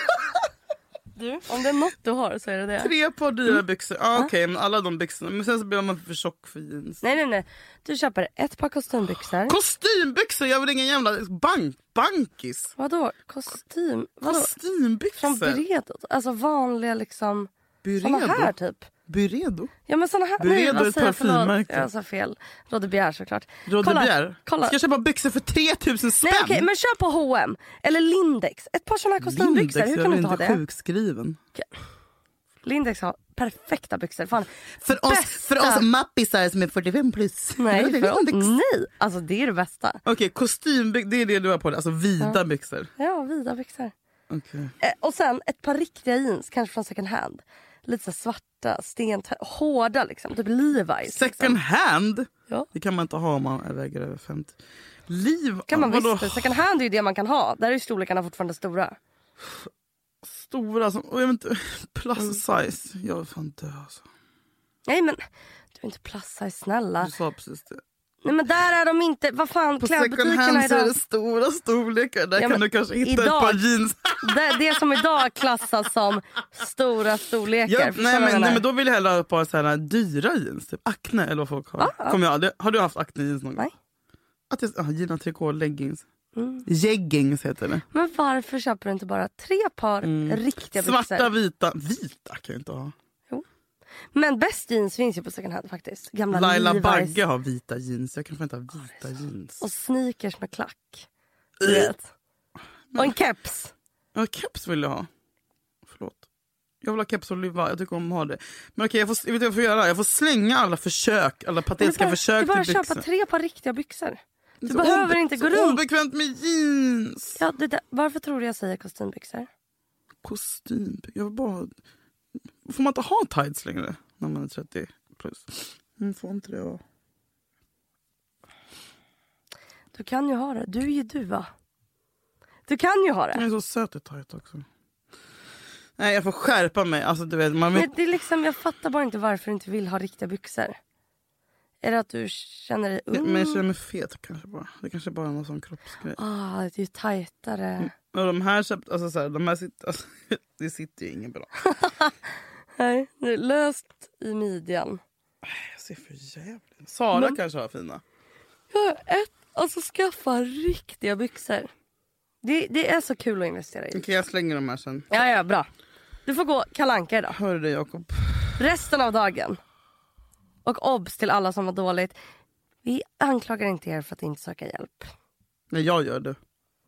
[SPEAKER 3] Du, om det är något du har så är det det.
[SPEAKER 2] Tre par
[SPEAKER 3] Mm.
[SPEAKER 2] dyra byxor. Ah, Okej, men alla de byxorna. Men sen så blir man för tjock för jeans.
[SPEAKER 3] Nej nej nej. Du köper ett par kostymbyxor.
[SPEAKER 2] Kostymbyxor! Jag vill ingen jävla bank, bankis.
[SPEAKER 3] Vadå kostym? Vadå? Från
[SPEAKER 2] Kostymbyxor.
[SPEAKER 3] Beredo? Alltså vanliga liksom. Såna här
[SPEAKER 2] Byredo.
[SPEAKER 3] typ.
[SPEAKER 2] Byredo.
[SPEAKER 3] Ja men såna här.
[SPEAKER 2] Byredo är
[SPEAKER 3] vad
[SPEAKER 2] ett
[SPEAKER 3] säger jag? Förlåt.
[SPEAKER 2] parfymmärke.
[SPEAKER 3] Jag sa fel. Rodde Bjerre såklart. Kolla,
[SPEAKER 2] Rodebjer.
[SPEAKER 3] kolla.
[SPEAKER 2] Ska jag köpa byxor för 3000 spänn?
[SPEAKER 3] Nej okej men köp på H&M eller Lindex. Ett par såna här
[SPEAKER 2] Lindex,
[SPEAKER 3] kostymbyxor. Hur
[SPEAKER 2] jag
[SPEAKER 3] kan du
[SPEAKER 2] blir
[SPEAKER 3] inte ha det?
[SPEAKER 2] sjukskriven.
[SPEAKER 3] Lindex har perfekta byxor. Fan.
[SPEAKER 2] För oss,
[SPEAKER 3] Bästa.
[SPEAKER 2] för oss mappisar som är 45 plus. liksom
[SPEAKER 3] Nej,
[SPEAKER 2] Rodebjer.
[SPEAKER 3] för,
[SPEAKER 2] Okej,
[SPEAKER 3] nej, alltså det är det bästa.
[SPEAKER 2] kostymbyxor. Det är det du har på dig. Alltså vida byxor.
[SPEAKER 3] Ja, vida byxor.
[SPEAKER 2] Okej.
[SPEAKER 3] Eh, och sen ett par riktiga jeans, kanske från second hand. Lite så här svarta, stentö- hårda liksom. Typ Levi's.
[SPEAKER 2] Second hand?
[SPEAKER 3] Ja.
[SPEAKER 2] Det kan man inte ha om man väger över 50. Liv,
[SPEAKER 3] kan man
[SPEAKER 2] vadå?
[SPEAKER 3] visst. det. Second hand är ju det man kan ha. Där är ju storlekarna fortfarande stora.
[SPEAKER 2] Stora som... och jag vet inte,
[SPEAKER 3] Mm.
[SPEAKER 2] Plus size. Jag vill fan dö alltså.
[SPEAKER 3] Nej men, du är inte plus size snälla.
[SPEAKER 2] Du sa precis det.
[SPEAKER 3] Nej men där är de inte. Vad fan,
[SPEAKER 2] På second hand
[SPEAKER 3] klädbutikerna
[SPEAKER 2] så är
[SPEAKER 3] idag.
[SPEAKER 2] det stora storlekar. Där
[SPEAKER 3] Ja,
[SPEAKER 2] kan
[SPEAKER 3] men
[SPEAKER 2] du kanske hitta
[SPEAKER 3] idag-
[SPEAKER 2] ett par jeans.
[SPEAKER 3] Det, det som idag klassas som stora storlekar.
[SPEAKER 2] Ja,
[SPEAKER 3] Förstår
[SPEAKER 2] nej,
[SPEAKER 3] du vad jag
[SPEAKER 2] men, nej
[SPEAKER 3] menar?
[SPEAKER 2] men då vill jag hellre ha ett par så här dyra jeans. Typ Acne eller vad folk har. Kommer jag, aldrig- har du haft Acne jeans någon gång?
[SPEAKER 3] Ah. Nej. Mm.
[SPEAKER 2] Att jag, ah, Gina Tricot leggings. Jeggings heter det.
[SPEAKER 3] Men varför köper du inte bara tre par riktiga
[SPEAKER 2] Mm. Svarta,
[SPEAKER 3] byxor?
[SPEAKER 2] vita. Vita kan jag inte ha.
[SPEAKER 3] Men bäst jeans finns ju på second hand faktiskt. Gamla
[SPEAKER 2] Laila
[SPEAKER 3] Levi's
[SPEAKER 2] Bagge har vita jeans. Jag kan fan inte ha vita jeans.
[SPEAKER 3] och sneakers med klack. Du vet. Och en keps.
[SPEAKER 2] Ja, keps vill jag ha. Förlåt. Jag vill ha keps och luva. Jag tycker om att ha det. Men okej, jag, får, jag vet inte vad jag får göra. Jag får slänga alla försök. Alla
[SPEAKER 3] Du
[SPEAKER 2] patetiska
[SPEAKER 3] bara, du
[SPEAKER 2] försök
[SPEAKER 3] bara
[SPEAKER 2] till
[SPEAKER 3] köpa
[SPEAKER 2] byxor.
[SPEAKER 3] tre par riktiga byxor. Du
[SPEAKER 2] Så
[SPEAKER 3] behöver
[SPEAKER 2] obe-
[SPEAKER 3] inte gå
[SPEAKER 2] så
[SPEAKER 3] runt.
[SPEAKER 2] Obekvämt med jeans.
[SPEAKER 3] Ja, det där, varför tror du jag säger kostymbyxor?
[SPEAKER 2] Kostym. Jag vill bara... Får man inte ha tights längre när man är 30 plus?
[SPEAKER 3] Mm,
[SPEAKER 2] Man får inte det. va?
[SPEAKER 3] Du kan ju ha det. Du är ju du va? Du kan ju ha
[SPEAKER 2] Jag
[SPEAKER 3] det.
[SPEAKER 2] är så söt i tight också. Nej, jag får skärpa mig. Alltså, du vet, man vill...
[SPEAKER 3] Men det är liksom, jag fattar bara inte varför du inte vill ha riktiga byxor. Är det att du känner dig ung?
[SPEAKER 2] Men jag känner mig fet kanske bara. Det kanske bara är någon sån kroppsgrej.
[SPEAKER 3] Ah, det är ju tajtare.
[SPEAKER 2] Och de här köpt, alltså så här, de här sitter, alltså, det sitter ju inget bra. Ah,
[SPEAKER 3] Nej, det är löst i midjan.
[SPEAKER 2] Jag ser för jävligt. Sara kanske har fina.
[SPEAKER 3] Jag har ett, alltså skaffa riktiga byxor. Det, det är så kul att investera i.
[SPEAKER 2] Okej jag slänger de här sen.
[SPEAKER 3] Ja, ja, bra. Du får gå kalanka idag.
[SPEAKER 2] Hör du det Jakob?
[SPEAKER 3] Resten av dagen. Och obs till alla som var dåligt. Vi anklagar inte er för att inte söka hjälp.
[SPEAKER 2] Nej jag gör det.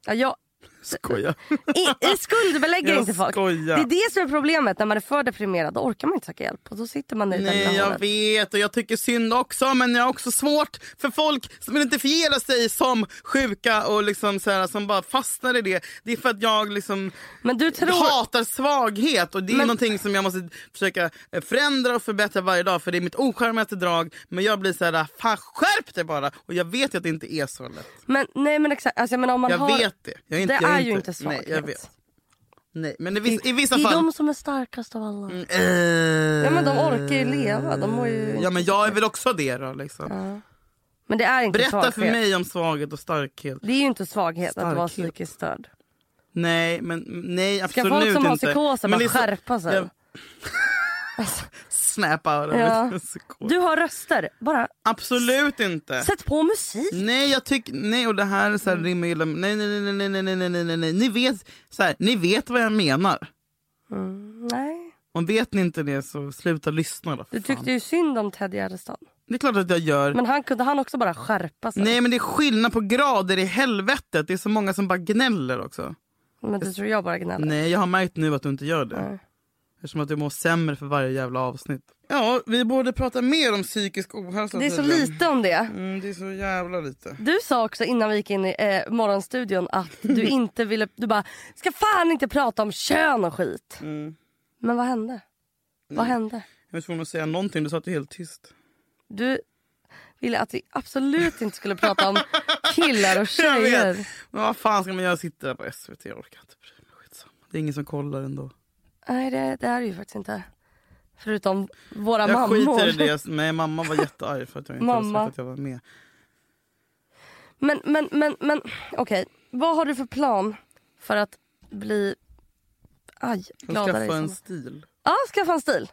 [SPEAKER 3] Ja, jag,
[SPEAKER 2] Skojar.
[SPEAKER 3] i, i skuldbelägger
[SPEAKER 2] Jag
[SPEAKER 3] inte folk.
[SPEAKER 2] skojar.
[SPEAKER 3] Det är det som är problemet. När man är för deprimerad då orkar man inte söka hjälp. Och då sitter man i det
[SPEAKER 2] Nej
[SPEAKER 3] lilla
[SPEAKER 2] jag
[SPEAKER 3] hålet.
[SPEAKER 2] vet och jag tycker synd också men jag har också svårt för folk som identifierar sig som sjuka och liksom så här, som bara fastnar i det. Det är för att jag liksom
[SPEAKER 3] Men du tror...
[SPEAKER 2] hatar svaghet och det är
[SPEAKER 3] Men-
[SPEAKER 2] någonting som jag måste försöka eh, förändra och förbättra varje dag för det är mitt ocharmigaste drag. Men jag blir så här, fan skärp dig bara! Och jag vet ju att det inte är så lätt.
[SPEAKER 3] Men, nej men exakt. Alltså, jag menar, om man
[SPEAKER 2] Jag
[SPEAKER 3] har...
[SPEAKER 2] vet det. Jag
[SPEAKER 3] det
[SPEAKER 2] jag
[SPEAKER 3] är ju inte svaghet.
[SPEAKER 2] Nej, jag vet. Nej, men i vissa, i vissa
[SPEAKER 3] det är
[SPEAKER 2] fall...
[SPEAKER 3] de som är starkast av alla.
[SPEAKER 2] Eh,
[SPEAKER 3] Ja, men de orkar ju leva. De mår ju...
[SPEAKER 2] Ja men jag är väl också det då liksom.
[SPEAKER 3] Men det är inte
[SPEAKER 2] Berätta
[SPEAKER 3] svaghet.
[SPEAKER 2] för mig om svaghet och starkhet.
[SPEAKER 3] Det är ju inte svaghet att vara
[SPEAKER 2] Starkhet.
[SPEAKER 3] psykiskt störd.
[SPEAKER 2] Nej men nej absolut
[SPEAKER 3] folk som har
[SPEAKER 2] inte.
[SPEAKER 3] psykoser
[SPEAKER 2] Men liksom-
[SPEAKER 3] bara
[SPEAKER 2] det är så-
[SPEAKER 3] skärpa sig?
[SPEAKER 2] Jag-
[SPEAKER 3] Alltså,
[SPEAKER 2] snap out of
[SPEAKER 3] Ja.
[SPEAKER 2] it. Så cool.
[SPEAKER 3] Du har röster. Bara
[SPEAKER 2] Absolut inte.
[SPEAKER 3] sätt på musik.
[SPEAKER 2] Nej, jag tycker... Nej, och det här, är så här
[SPEAKER 3] Mm.
[SPEAKER 2] rimmar illa. Nej, nej, nej, nej, nej, nej, nej, nej, nej, nej. Ni vet, så här, ni vet vad jag menar. Mm.
[SPEAKER 3] Nej.
[SPEAKER 2] Om vet ni inte det så sluta lyssna då. för
[SPEAKER 3] Du
[SPEAKER 2] fan.
[SPEAKER 3] tyckte ju synd om Ted Gärdestad.
[SPEAKER 2] Det är klart att jag gör.
[SPEAKER 3] Men han kunde han också bara skärpa sig?
[SPEAKER 2] Nej men det är skillnad på grader i helvetet. Det är så många som bara gnäller också.
[SPEAKER 3] Men det tror jag bara gnäller.
[SPEAKER 2] Nej jag har märkt nu att du inte gör det.
[SPEAKER 3] Nej.
[SPEAKER 2] Eftersom att du mår sämre för varje jävla avsnitt. Ja vi borde prata mer om psykisk ohälsa.
[SPEAKER 3] Det är så
[SPEAKER 2] tydligen.
[SPEAKER 3] lite om det.
[SPEAKER 2] Mm, det är så jävla lite.
[SPEAKER 3] Du sa också innan vi gick in i eh, morgonstudion att du inte ville... Du bara, ska fan inte prata om kön och skit.
[SPEAKER 2] Mm.
[SPEAKER 3] Men vad hände? Vad hände?
[SPEAKER 2] Jag var tvungen att säga någonting, du satt ju helt tyst.
[SPEAKER 3] Du ville att vi absolut inte skulle prata om killar och
[SPEAKER 2] Jag vet.
[SPEAKER 3] tjejer.
[SPEAKER 2] Men vad fan ska man göra? Sitta där på SVT? Jag orkar inte bry mig. Skitsamma. Det är ingen som kollar ändå.
[SPEAKER 3] Nej, det, det är det ju faktiskt inte. Förutom våra
[SPEAKER 2] Jag
[SPEAKER 3] mammor.
[SPEAKER 2] skiter i det. Nej mamma var jättearg för att jag inte hade
[SPEAKER 3] Mamma.
[SPEAKER 2] sagt att jag var med.
[SPEAKER 3] Men, men, men, men okej. Vad har du för plan för att bli aj,
[SPEAKER 2] Jag
[SPEAKER 3] gladare? i
[SPEAKER 2] skaffade en
[SPEAKER 3] sommar?
[SPEAKER 2] stil.
[SPEAKER 3] Ja, skaffa en stil.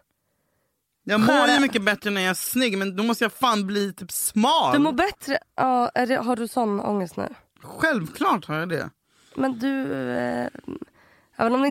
[SPEAKER 2] Jag mår ju
[SPEAKER 3] Skära.
[SPEAKER 2] mycket bättre när jag är snygg men då måste jag fan bli typ smal.
[SPEAKER 3] Du mår bättre. Ja, är det, har du sån ångest nu?
[SPEAKER 2] Självklart har jag det.
[SPEAKER 3] Men du... Eh, även om det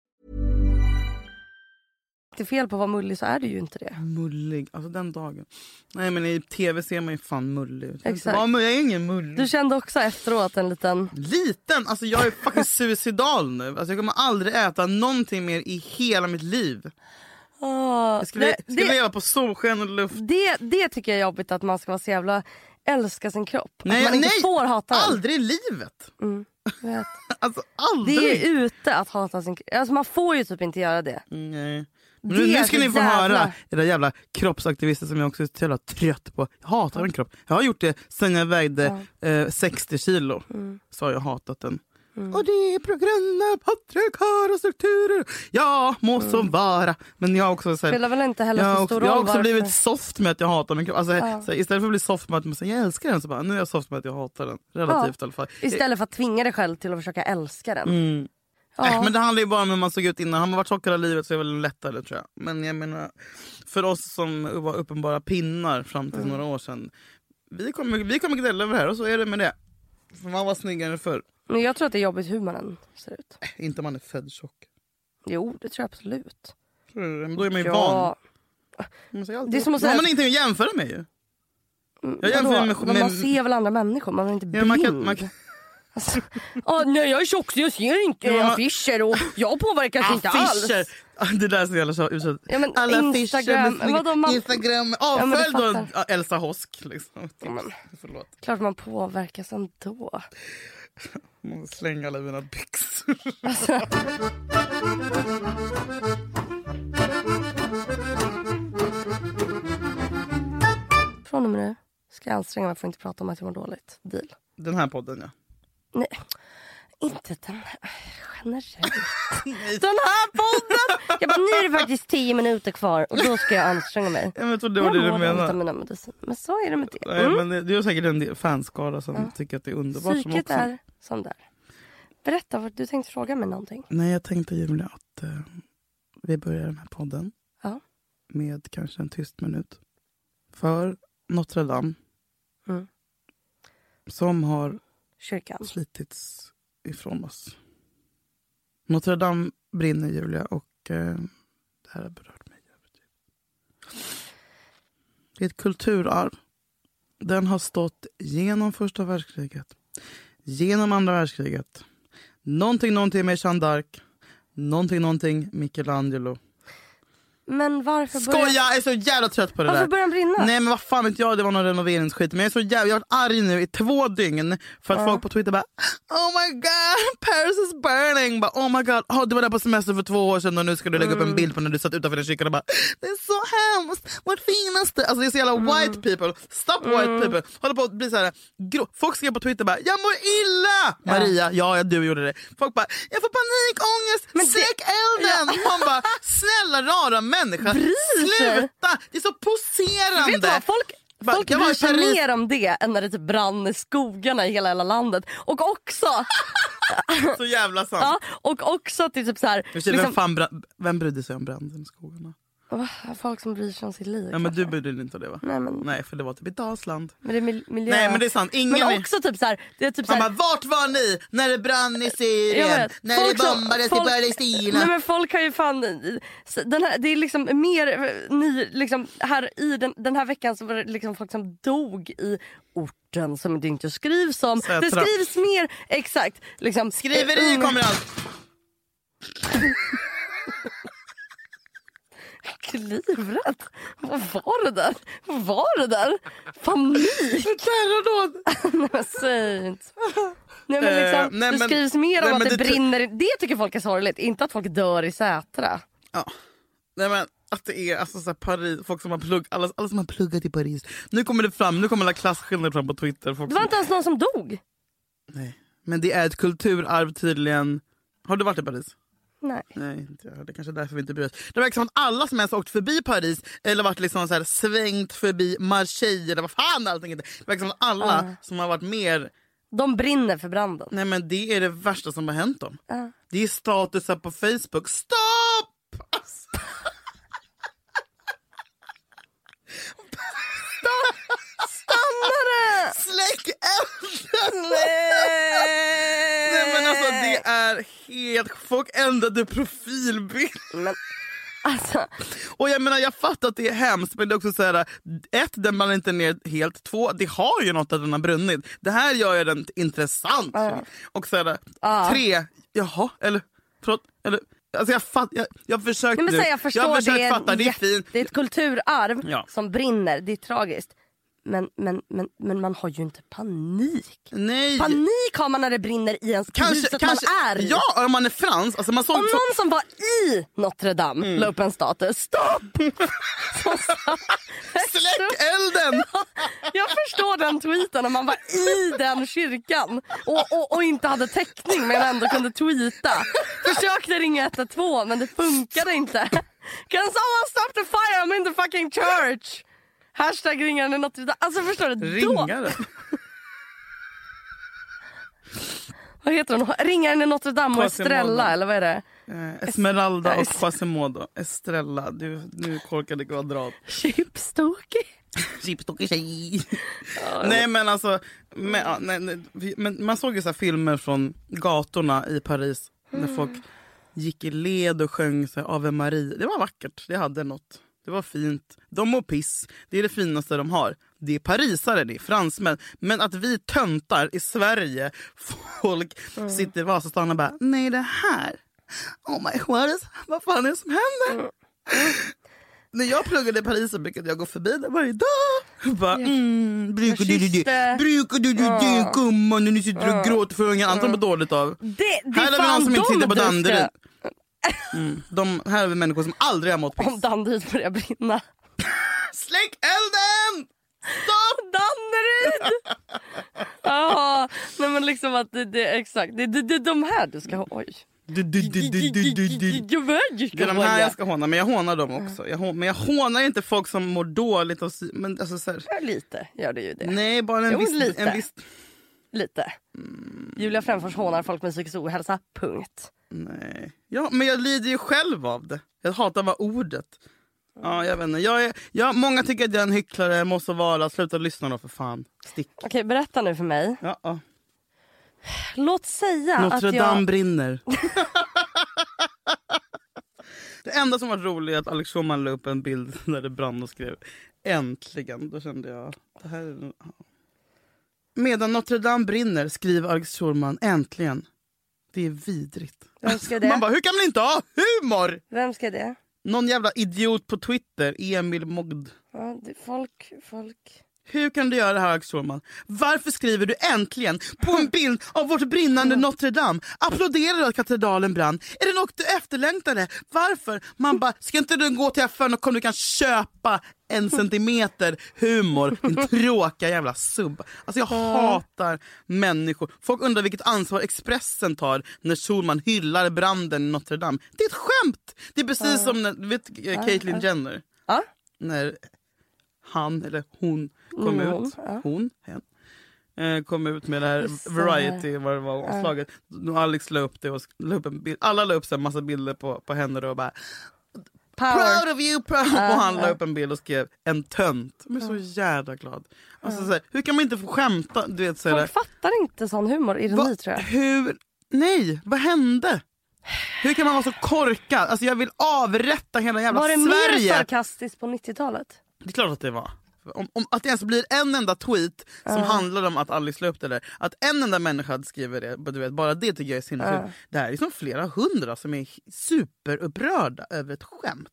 [SPEAKER 3] är fel på att vara mullig så är du ju inte det.
[SPEAKER 2] Mullig, alltså den dagen. Nej men i tv ser man ju fan mullig ut.
[SPEAKER 3] Exakt.
[SPEAKER 2] Ja, men jag är ingen mullig.
[SPEAKER 3] Du kände också efteråt en liten...
[SPEAKER 2] Liten, alltså jag är fucking suicidal nu. Alltså jag kommer aldrig äta någonting mer i hela mitt liv.
[SPEAKER 3] Åh,
[SPEAKER 2] Jag skulle,
[SPEAKER 3] det,
[SPEAKER 2] Ah, skulle
[SPEAKER 3] det,
[SPEAKER 2] leva på solsken och luft.
[SPEAKER 3] det, det tycker jag är jobbigt att man ska vara så jävla... Älska sin kropp.
[SPEAKER 2] Nej,
[SPEAKER 3] att man inte
[SPEAKER 2] nej,
[SPEAKER 3] får hata den.
[SPEAKER 2] Aldrig i livet.
[SPEAKER 3] Vet.
[SPEAKER 2] Alltså
[SPEAKER 3] Det
[SPEAKER 2] aldrig.
[SPEAKER 3] är ju ute att hata sin kropp. Alltså man får ju typ inte göra det.
[SPEAKER 2] Nej. Men
[SPEAKER 3] Det
[SPEAKER 2] nu, nu
[SPEAKER 3] är
[SPEAKER 2] ska
[SPEAKER 3] så
[SPEAKER 2] ni få
[SPEAKER 3] jävla-
[SPEAKER 2] höra era jävla kroppsaktivister som jag också är så jävla trött på. Jag hatar min kropp. Jag har gjort det sen jag vägde eh, 60 kilo.
[SPEAKER 3] Mm.
[SPEAKER 2] Så har jag hatat den. Och det är på grund av patriarkala strukturer. Ja, må så vara. Men jag har också, så här,
[SPEAKER 3] Mm. Spelar väl inte heller
[SPEAKER 2] jag har
[SPEAKER 3] så
[SPEAKER 2] också,
[SPEAKER 3] stor
[SPEAKER 2] jag har
[SPEAKER 3] roll
[SPEAKER 2] också
[SPEAKER 3] varför-
[SPEAKER 2] blivit soft med att jag hatar min kropp. Alltså, så här, istället för att bli soft med att man säger jag älskar den så bara, nu är jag soft med att jag hatar den. Relativt i alla fall.
[SPEAKER 3] Istället för att tvinga dig själv till att försöka älska den.
[SPEAKER 2] Mm. Äh, men det handlar ju bara om hur man såg ut innan. Har man varit tjock hela livet så är det väl lättare tror jag. Men jag menar, för oss som var uppenbara pinnar fram till
[SPEAKER 3] Mm.
[SPEAKER 2] några år sedan. Vi kommer, vi kommer gnälla över det här och så är det med det. För man var snyggare förr. Äh,
[SPEAKER 3] Men jag tror att det är jobbigt hur man än ser ut.
[SPEAKER 2] Inte om man är född tjock.
[SPEAKER 3] Jo, det tror jag absolut.
[SPEAKER 2] Tror du det? Men då är man ju van.
[SPEAKER 3] Ja,
[SPEAKER 2] Man säger alltid-
[SPEAKER 3] Det är som att
[SPEAKER 2] Då har
[SPEAKER 3] säga-
[SPEAKER 2] man ingenting att jämföra med ju. Jag jämför
[SPEAKER 3] vadå?
[SPEAKER 2] med...
[SPEAKER 3] Men man
[SPEAKER 2] med
[SPEAKER 3] ser väl andra människor? Man är inte
[SPEAKER 2] ja,
[SPEAKER 3] blind?
[SPEAKER 2] man kan, man kan,
[SPEAKER 3] Alltså, ah, nej, jag är tjock så jag ser inte
[SPEAKER 2] Ja, men-
[SPEAKER 3] affischer och jag påverkas inte
[SPEAKER 2] Ah, affischer!
[SPEAKER 3] alls.
[SPEAKER 2] Det där är så jävla tjatigt.
[SPEAKER 3] Ja, men
[SPEAKER 2] Alla affischer
[SPEAKER 3] Instagram,
[SPEAKER 2] med snygga-
[SPEAKER 3] vadå, man-
[SPEAKER 2] Instagram.
[SPEAKER 3] men du
[SPEAKER 2] Avfölj då
[SPEAKER 3] fattar.
[SPEAKER 2] ja, Elsa Hosk. Liksom. Förlåt.
[SPEAKER 3] Klart man påverkas ändå.
[SPEAKER 2] måste slänga alla mina byxor.
[SPEAKER 3] Från och med nu ska jag anstränga mig för att inte prata om att jag mår dåligt. Deal.
[SPEAKER 2] Den här podden ja.
[SPEAKER 3] Nej, inte den här. Generellt. den här podden! Jag bara, nu är det faktiskt 10 minuter kvar och då ska jag anstränga mig.
[SPEAKER 2] Jag vet vad det var det
[SPEAKER 3] jag
[SPEAKER 2] du
[SPEAKER 3] av
[SPEAKER 2] menade.
[SPEAKER 3] mina mediciner. Men så är det med det. Mm.
[SPEAKER 2] Nej, men det, det är säkert en del fanskara som tycker att det är underbart. som
[SPEAKER 3] Psyket
[SPEAKER 2] också...
[SPEAKER 3] är som där. Berätta, vad du tänkte fråga mig någonting.
[SPEAKER 2] Nej, jag tänkte Julia att eh, vi börjar den här podden
[SPEAKER 3] Ja.
[SPEAKER 2] med kanske en tyst minut. För Notre Dame.
[SPEAKER 3] Mm.
[SPEAKER 2] Som har
[SPEAKER 3] Kyrkan.
[SPEAKER 2] slitits ifrån oss. Notre Dame brinner Julia och eh, det här har berört mig jävligt djupt. Det är ett kulturarv. Den har stått genom första världskriget, genom andra världskriget. Någonting, någonting med Jeanne d'Arc, någonting, någonting Michelangelo.
[SPEAKER 3] Men varför
[SPEAKER 2] Skoja!
[SPEAKER 3] börjar,
[SPEAKER 2] Jag är så jävla trött på det
[SPEAKER 3] varför
[SPEAKER 2] där.
[SPEAKER 3] börjar den brinna?
[SPEAKER 2] Nej men vad fan vet jag, det var någon renoveringsskit. Men jag är så jävla, jag har varit arg nu i två dygn för att folk på Twitter bara Oh my god, Paris is burning! Bara, oh my god, oh, du var där på semester för två år sedan och nu ska du lägga upp en
[SPEAKER 3] Mm.
[SPEAKER 2] bild på när du satt utanför den kyrkan och bara det är så hemskt, vårt finaste. Alltså det är så
[SPEAKER 3] Mm.
[SPEAKER 2] jävla white people, stop white people. Håller på att bli så här, grå. Folk skrev på Twitter bara jag mår illa! Maria, ja, ja du gjorde det. Folk bara jag får panikångest, sök elden! Man bara snälla rara människa,
[SPEAKER 3] Bryr sig.
[SPEAKER 2] sluta! Det är så poserande.
[SPEAKER 3] Vet du vad, folk
[SPEAKER 2] Va,
[SPEAKER 3] folk
[SPEAKER 2] jag var i
[SPEAKER 3] bryr sig
[SPEAKER 2] Paris.
[SPEAKER 3] mer om det än när det typ brann i skogarna i hela, hela landet. Och också,
[SPEAKER 2] Så jävla sant.
[SPEAKER 3] ja, och också att det är typ så här,
[SPEAKER 2] För sig,
[SPEAKER 3] liksom,
[SPEAKER 2] vem, fan bra- vem brydde sig om branden i skogarna?
[SPEAKER 3] Åh, folk som bryr sig om sitt liv.
[SPEAKER 2] Ja, men du brydde dig inte om det va?
[SPEAKER 3] Nej, men-
[SPEAKER 2] Nej för det var typ i Dalsland.
[SPEAKER 3] Men det är mil- miljö.
[SPEAKER 2] Nej men det är sant, ingen...
[SPEAKER 3] Men också typ så här, det är typ så
[SPEAKER 2] Man
[SPEAKER 3] här,
[SPEAKER 2] bara, vart var ni när det brann i
[SPEAKER 3] Jag
[SPEAKER 2] Syrien?
[SPEAKER 3] vet.
[SPEAKER 2] När
[SPEAKER 3] Folk
[SPEAKER 2] det
[SPEAKER 3] som-
[SPEAKER 2] bombades
[SPEAKER 3] folk-
[SPEAKER 2] i Palestina?
[SPEAKER 3] Nej, men folk har ju fan... Den här, det är liksom mer... eh, Ny, liksom, här i den, den här veckan så var det liksom folk som dog i orten som det inte skrivs om.
[SPEAKER 2] Sätra.
[SPEAKER 3] Det skrivs mer... Exakt. Liksom, eh,
[SPEAKER 2] Skriveri
[SPEAKER 3] unga-
[SPEAKER 2] kommer allt.
[SPEAKER 3] Livrädd. Vad var det där? Vad var det där? Panik! Ett terrordåd! nej men säg inte så. Nej men
[SPEAKER 2] Eh,
[SPEAKER 3] liksom,
[SPEAKER 2] nej,
[SPEAKER 3] det
[SPEAKER 2] men-
[SPEAKER 3] skrivs mer om
[SPEAKER 2] nej,
[SPEAKER 3] att
[SPEAKER 2] men
[SPEAKER 3] det,
[SPEAKER 2] det tror-
[SPEAKER 3] brinner. i- Det tycker folk är sorgligt, inte att folk dör i Sätra.
[SPEAKER 2] Ja. Nej, men att det är alltså, så här, Paris, folk som har plugg, alla, alla som har pluggat i Paris. Nu kommer det fram, nu kommer alla klasskillnader fram på Twitter. Folk
[SPEAKER 3] Det var
[SPEAKER 2] som,
[SPEAKER 3] inte ens någon som dog.
[SPEAKER 2] nej. Men det är ett kulturarv tydligen. Har du varit i Paris?
[SPEAKER 3] Nej.
[SPEAKER 2] Nej, inte jag. det är kanske är därför vi inte bryr oss. Det verkar som att alla som ens åkt förbi Paris eller varit liksom så här svängt förbi Marseille eller vad fan allting heter. Det verkar som att alla som har varit mer...
[SPEAKER 3] De brinner för branden.
[SPEAKER 2] Nej men det är det värsta som har hänt dem. Det är statusar på Facebook. Stopp! Alltså.
[SPEAKER 3] Stannare!
[SPEAKER 2] Släck elden! Nej men alltså det är helt... Folk ändrade profilbild.
[SPEAKER 3] Men, alltså,
[SPEAKER 2] Och jag menar jag fattar att det är hemskt men det är också så här, ett den brann inte ner helt, två det har ju något att den har brunnit. Det här gör ju den intressant. Och så här, tre, jaha eller förlåt, eller alltså jag fattar, jag, jag har försökt
[SPEAKER 3] nej, men
[SPEAKER 2] nu.
[SPEAKER 3] säg, jag förstår,
[SPEAKER 2] jag har försökt
[SPEAKER 3] det, är en
[SPEAKER 2] fatta, det är
[SPEAKER 3] jätte-
[SPEAKER 2] fint.
[SPEAKER 3] det är ett kulturarv
[SPEAKER 2] Ja.
[SPEAKER 3] som brinner. Det är tragiskt. Men, men, men, men man har ju inte panik.
[SPEAKER 2] Nej.
[SPEAKER 3] Panik har man när det brinner i ens huset man är i.
[SPEAKER 2] Ja, om man är frans. Alltså man såg,
[SPEAKER 3] Om någon som var i Notre Dame
[SPEAKER 2] Mm.
[SPEAKER 3] la upp en status. Stopp! Som sa-
[SPEAKER 2] Släck elden!
[SPEAKER 3] Jag förstår den tweeten om man var i den kyrkan och, och, och inte hade täckning men ändå kunde tweeta. Försökte ringa 112 men det funkade inte. Can someone stop the fire? I'm in the fucking church! Hashtag ringaren är något... Alltså förstår du? Då,
[SPEAKER 2] Ringare.
[SPEAKER 3] vad heter hon? Ringaren är Notre Dame och
[SPEAKER 2] Quasimodo.
[SPEAKER 3] Estrella eller vad är det?
[SPEAKER 2] Eh, Esmeralda och
[SPEAKER 3] Nice.
[SPEAKER 2] Quasimodo. Estrella, du, nu korkade kvadrat.
[SPEAKER 3] Chipstokig.
[SPEAKER 2] Chipstokig tjej. Nej men alltså, men, ja, nej, nej, vi- men man såg ju så här filmer från gatorna i Paris när folk gick i led och sjöng så här, Ave Maria. Det var vackert, det hade något. Det var fint. De mår piss, det är det finaste de har. Det är parisare, det är fransmän. Men att vi töntar i Sverige, folk sitter i Vasastan och bara nej det här, oh my what is, vad fan är det som händer? När jag pluggade i Paris så brukade jag gå förbi där varje dag. Jag Bara, mm, brukar du du du,
[SPEAKER 3] Fascister.
[SPEAKER 2] brukar du du du gumman när ni sitter och gråter för ungen. Anton mår dåligt av.
[SPEAKER 3] Det, det
[SPEAKER 2] Här
[SPEAKER 3] är
[SPEAKER 2] är vi
[SPEAKER 3] fan
[SPEAKER 2] någon som inte
[SPEAKER 3] dem
[SPEAKER 2] sitter på
[SPEAKER 3] du ska-
[SPEAKER 2] Danderyd. Mm, de, här är vi människor som aldrig har mått piss.
[SPEAKER 3] Om Danderyd börjar brinna.
[SPEAKER 2] Släck elden! Stopp!
[SPEAKER 3] Danderyd! Ja, nej men liksom att det, det exakt. Det är det, det, är de här du ska ha. Oj.
[SPEAKER 2] Du, du, du, du, du, du, du.
[SPEAKER 3] Jag vet ju
[SPEAKER 2] Det är
[SPEAKER 3] ska
[SPEAKER 2] de
[SPEAKER 3] vara
[SPEAKER 2] här jag
[SPEAKER 3] jag.
[SPEAKER 2] ska håna, men jag hånar dem också. Jag hå- men jag hånar inte folk som mår dåligt. Och, sy- men alltså, så här,
[SPEAKER 3] Lite gör det ju det.
[SPEAKER 2] nej, bara en
[SPEAKER 3] Jo,
[SPEAKER 2] viss...
[SPEAKER 3] lite.
[SPEAKER 2] En viss
[SPEAKER 3] Lite.
[SPEAKER 2] Mm.
[SPEAKER 3] Julia Fränfors hånar folk med psykisk ohälsa. Punkt.
[SPEAKER 2] Nej. Ja, men jag lider ju själv av det. Jag hatar bara ordet. Ja, jag vet inte. Jag är, jag, många tycker att jag är en hycklare, må så vara. Sluta lyssna då för fan. Stick.
[SPEAKER 3] Okej, berätta nu för mig.
[SPEAKER 2] Ja, ja.
[SPEAKER 3] Låt säga
[SPEAKER 2] Notre
[SPEAKER 3] Ah, att
[SPEAKER 2] Dame
[SPEAKER 3] jag...
[SPEAKER 2] brinner. det enda som var roligt är att Alex Schulman la upp en bild där det brann och skrev äntligen. Då kände jag, det här är... ja. Medan Notre Dame brinner skriver Alex Schulman äntligen. Det är vidrigt.
[SPEAKER 3] Vem ska det?
[SPEAKER 2] Man bara, hur kan man inte ha humor?
[SPEAKER 3] Vem ska det?
[SPEAKER 2] Någon jävla idiot på Twitter, Emil Mogd.
[SPEAKER 3] Ja, det, folk, folk.
[SPEAKER 2] Hur kan du göra det här Axel Ståhlman? Varför skriver du äntligen på en bild av vårt brinnande Notre Dame? Applåderar du att katedralen brann? Är det något du efterlängtade? Varför? Man bara, ska inte du gå till FN och kom du kan köpa en centimeter humor, din tråkiga jävla sub. Alltså jag hatar människor. Folk undrar vilket ansvar Expressen tar när Solman hyllar branden i Notre Dame. Det är ett skämt! Det är precis som när, du vet eh, Caitlyn Jenner?
[SPEAKER 3] Ja.
[SPEAKER 2] När han eller hon kom
[SPEAKER 3] Mm,
[SPEAKER 2] ut,
[SPEAKER 3] ja.
[SPEAKER 2] hon, hen, eh, kom ut med det här
[SPEAKER 3] Just det.
[SPEAKER 2] Variety, vad det var, omslaget. Då Alex la upp det och sk- la upp en bild. Alla la upp en massa bilder på, på henne då och bara
[SPEAKER 3] Power.
[SPEAKER 2] Proud of you, proud. och han la upp en bild och skrev en tönt. Men så jävla glad. Alltså, så här, hur kan man inte få skämta? Du vet, så här,
[SPEAKER 3] Folk fattar inte sån humor, ironi
[SPEAKER 2] vad-
[SPEAKER 3] tror jag.
[SPEAKER 2] Hur? Nej, vad hände? Hur kan man vara så korkad? Alltså jag vill avrätta hela jävla
[SPEAKER 3] Var det mer
[SPEAKER 2] Sverige.
[SPEAKER 3] sarkastiskt på 90-talet?
[SPEAKER 2] Det är klart att det var. Om, om att det ens blir en enda tweet som handlar om att Alice la upp det där. Att en enda människa hade skrivit det, du vet, bara det tycker jag är sinnessjukt. Det här är liksom flera hundra som är superupprörda över ett skämt.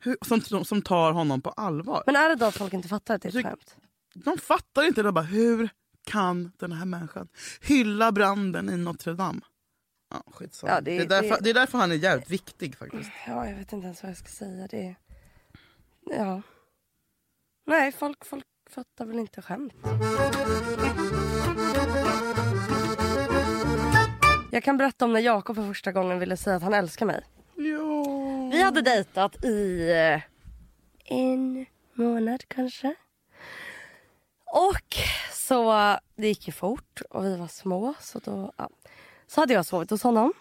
[SPEAKER 2] Hur, som, som tar honom på allvar.
[SPEAKER 3] Men är det då att folk inte fattar att det är ett
[SPEAKER 2] Tyck-
[SPEAKER 3] skämt?
[SPEAKER 2] De fattar inte. De bara, hur kan den här människan hylla branden i Notre Dame? Ja, skitsamma.
[SPEAKER 3] Ja,
[SPEAKER 2] det,
[SPEAKER 3] det-
[SPEAKER 2] är därför,
[SPEAKER 3] det-
[SPEAKER 2] det är därför han är jävligt viktig faktiskt.
[SPEAKER 3] Ja, jag vet inte ens vad jag ska säga. Det är... Ja. Nej, folk, folk fattar väl inte skämt. Jag kan berätta om när Jakob för första gången ville säga att han älskar mig.
[SPEAKER 2] Ja.
[SPEAKER 3] Vi hade dejtat i eh, en månad kanske. Och så, eh, det gick ju fort och vi var små. Så, då, ja. så hade jag sovit hos honom.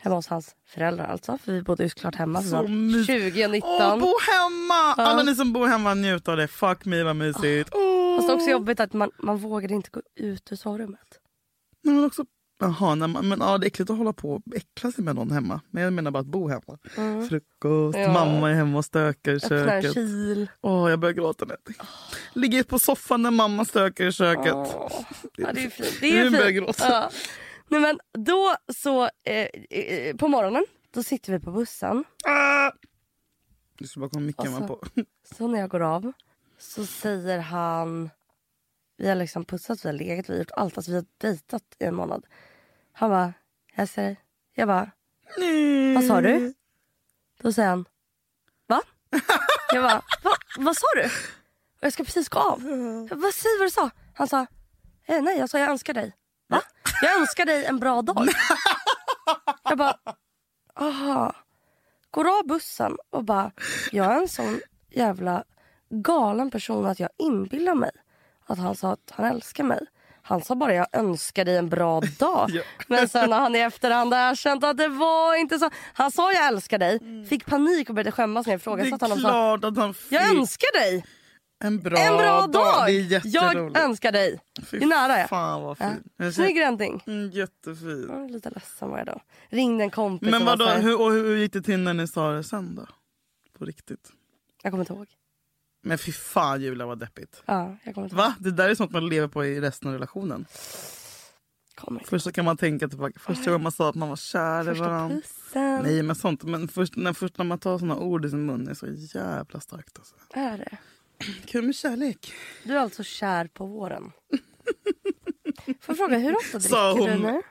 [SPEAKER 3] Hemma hos hans föräldrar alltså. För vi bodde ju såklart hemma.
[SPEAKER 2] Så
[SPEAKER 3] Så
[SPEAKER 2] mys-
[SPEAKER 3] 2019.
[SPEAKER 2] Åh, bo hemma! Alla ni som bor hemma, njut av det. Fuck me vad mysigt. Åh.
[SPEAKER 3] Fast det är också jobbigt att man, man vågade inte gå ut ur sovrummet.
[SPEAKER 2] Nej, men också, jaha, nej, men, men, ja, det är äckligt att hålla på och äckla sig med någon hemma. Men jag menar bara att bo hemma. Frukost,
[SPEAKER 3] Mm. Ja.
[SPEAKER 2] mamma är hemma och stökar i
[SPEAKER 3] Öppna en
[SPEAKER 2] köket.
[SPEAKER 3] kil.
[SPEAKER 2] Åh, jag börjar gråta nu. Ligger på soffan när mamma stökar i köket.
[SPEAKER 3] Åh, Ja, det är fint. Det
[SPEAKER 2] Nu
[SPEAKER 3] är
[SPEAKER 2] börjar jag
[SPEAKER 3] fint.
[SPEAKER 2] gråta.
[SPEAKER 3] Ja. Nej, men då så, eh, eh, på morgonen, då sitter vi på bussen.
[SPEAKER 2] Ah! Du ska bara komma mycket man
[SPEAKER 3] Alltså.
[SPEAKER 2] på.
[SPEAKER 3] Så när jag går av så säger han... Vi har liksom pussat, vi har legat, vi har gjort allt. Alltså vi har dejtat i en månad. Han bara, jag ser dig. Jag bara,
[SPEAKER 2] Nej.
[SPEAKER 3] vad sa du? Då säger han, va? Jag bara, va? vad sa du? Och jag ska precis gå av. Jag bara, Säg vad du sa. Han sa, eh, nej jag sa jag önskar dig. Va? Jag önskar dig en bra dag. Jag bara, aha. Går av bussen och bara, jag är en sån jävla galen person att jag inbillar mig att han sa att han älskar mig. Han sa bara jag önskar dig en bra dag.
[SPEAKER 2] Ja.
[SPEAKER 3] Men sen när han i efterhand erkänt att det var inte så. Han sa jag älskar dig, fick panik och började skämmas när jag
[SPEAKER 2] Mm. Det är
[SPEAKER 3] ifrågasatte honom. och Sa,
[SPEAKER 2] klart att han fick
[SPEAKER 3] jag önskar dig
[SPEAKER 2] en bra,
[SPEAKER 3] en bra dag.
[SPEAKER 2] Det är
[SPEAKER 3] jag
[SPEAKER 2] jätteroligt.
[SPEAKER 3] önskar dig.
[SPEAKER 2] Fy
[SPEAKER 3] Det är nära jag.
[SPEAKER 2] Fan vad
[SPEAKER 3] Ja.
[SPEAKER 2] fin. Den ser-
[SPEAKER 3] Snygg rändning.
[SPEAKER 2] Mm, Jättefin.
[SPEAKER 3] Jag var lite ledsen var jag då. Ringde en kompis
[SPEAKER 2] Men
[SPEAKER 3] och var
[SPEAKER 2] vadå,
[SPEAKER 3] så här-
[SPEAKER 2] hur, och hur gick det till när ni sa det sen då? På riktigt.
[SPEAKER 3] Jag kommer inte ihåg.
[SPEAKER 2] Men fy fan Julia vad deppigt.
[SPEAKER 3] Ja, jag kommer inte ihåg.
[SPEAKER 2] Va? Det där är sånt man lever på i resten av relationen.
[SPEAKER 3] Kommer inte.
[SPEAKER 2] Först så kan man tänka tillbaka, första gången man sa att man var kär i
[SPEAKER 3] Första
[SPEAKER 2] varandra.
[SPEAKER 3] pussen.
[SPEAKER 2] Nej men sånt, men först när, först när man tar såna ord i sin mun är så jävla starkt alltså.
[SPEAKER 3] Är det?
[SPEAKER 2] Kul med kärlek.
[SPEAKER 3] Du är alltså kär på våren. Får jag fråga, hur ofta
[SPEAKER 2] Sa
[SPEAKER 3] dricker
[SPEAKER 2] hon.
[SPEAKER 3] du nu?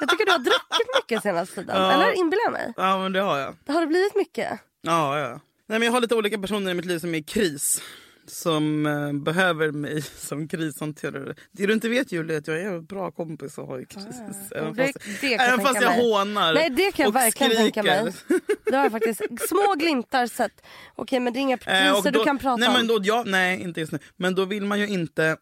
[SPEAKER 3] Jag tycker du har druckit mycket senaste tiden.
[SPEAKER 2] Ja.
[SPEAKER 3] Eller inbillar jag mig?
[SPEAKER 2] Ja men det har jag.
[SPEAKER 3] Har det blivit mycket?
[SPEAKER 2] Ja, ja. Nej, men jag har lite olika personer i mitt liv som är i kris. Som eh, behöver mig som krishanterare. Det du inte vet Julia är att jag är en bra kompis och har i kris. även
[SPEAKER 3] Ah, det-
[SPEAKER 2] fast,
[SPEAKER 3] det kan jag
[SPEAKER 2] även fast
[SPEAKER 3] tänka
[SPEAKER 2] jag
[SPEAKER 3] mig.
[SPEAKER 2] hånar
[SPEAKER 3] Nej det kan jag
[SPEAKER 2] och
[SPEAKER 3] verkligen
[SPEAKER 2] skriker.
[SPEAKER 3] tänka mig. Det har jag faktiskt små glimtar sett. Okej men det är inga
[SPEAKER 2] Eh, och
[SPEAKER 3] priser
[SPEAKER 2] då-
[SPEAKER 3] du kan prata
[SPEAKER 2] nej, men
[SPEAKER 3] om.
[SPEAKER 2] då, ja, nej, inte just nu. Men då vill man ju inte...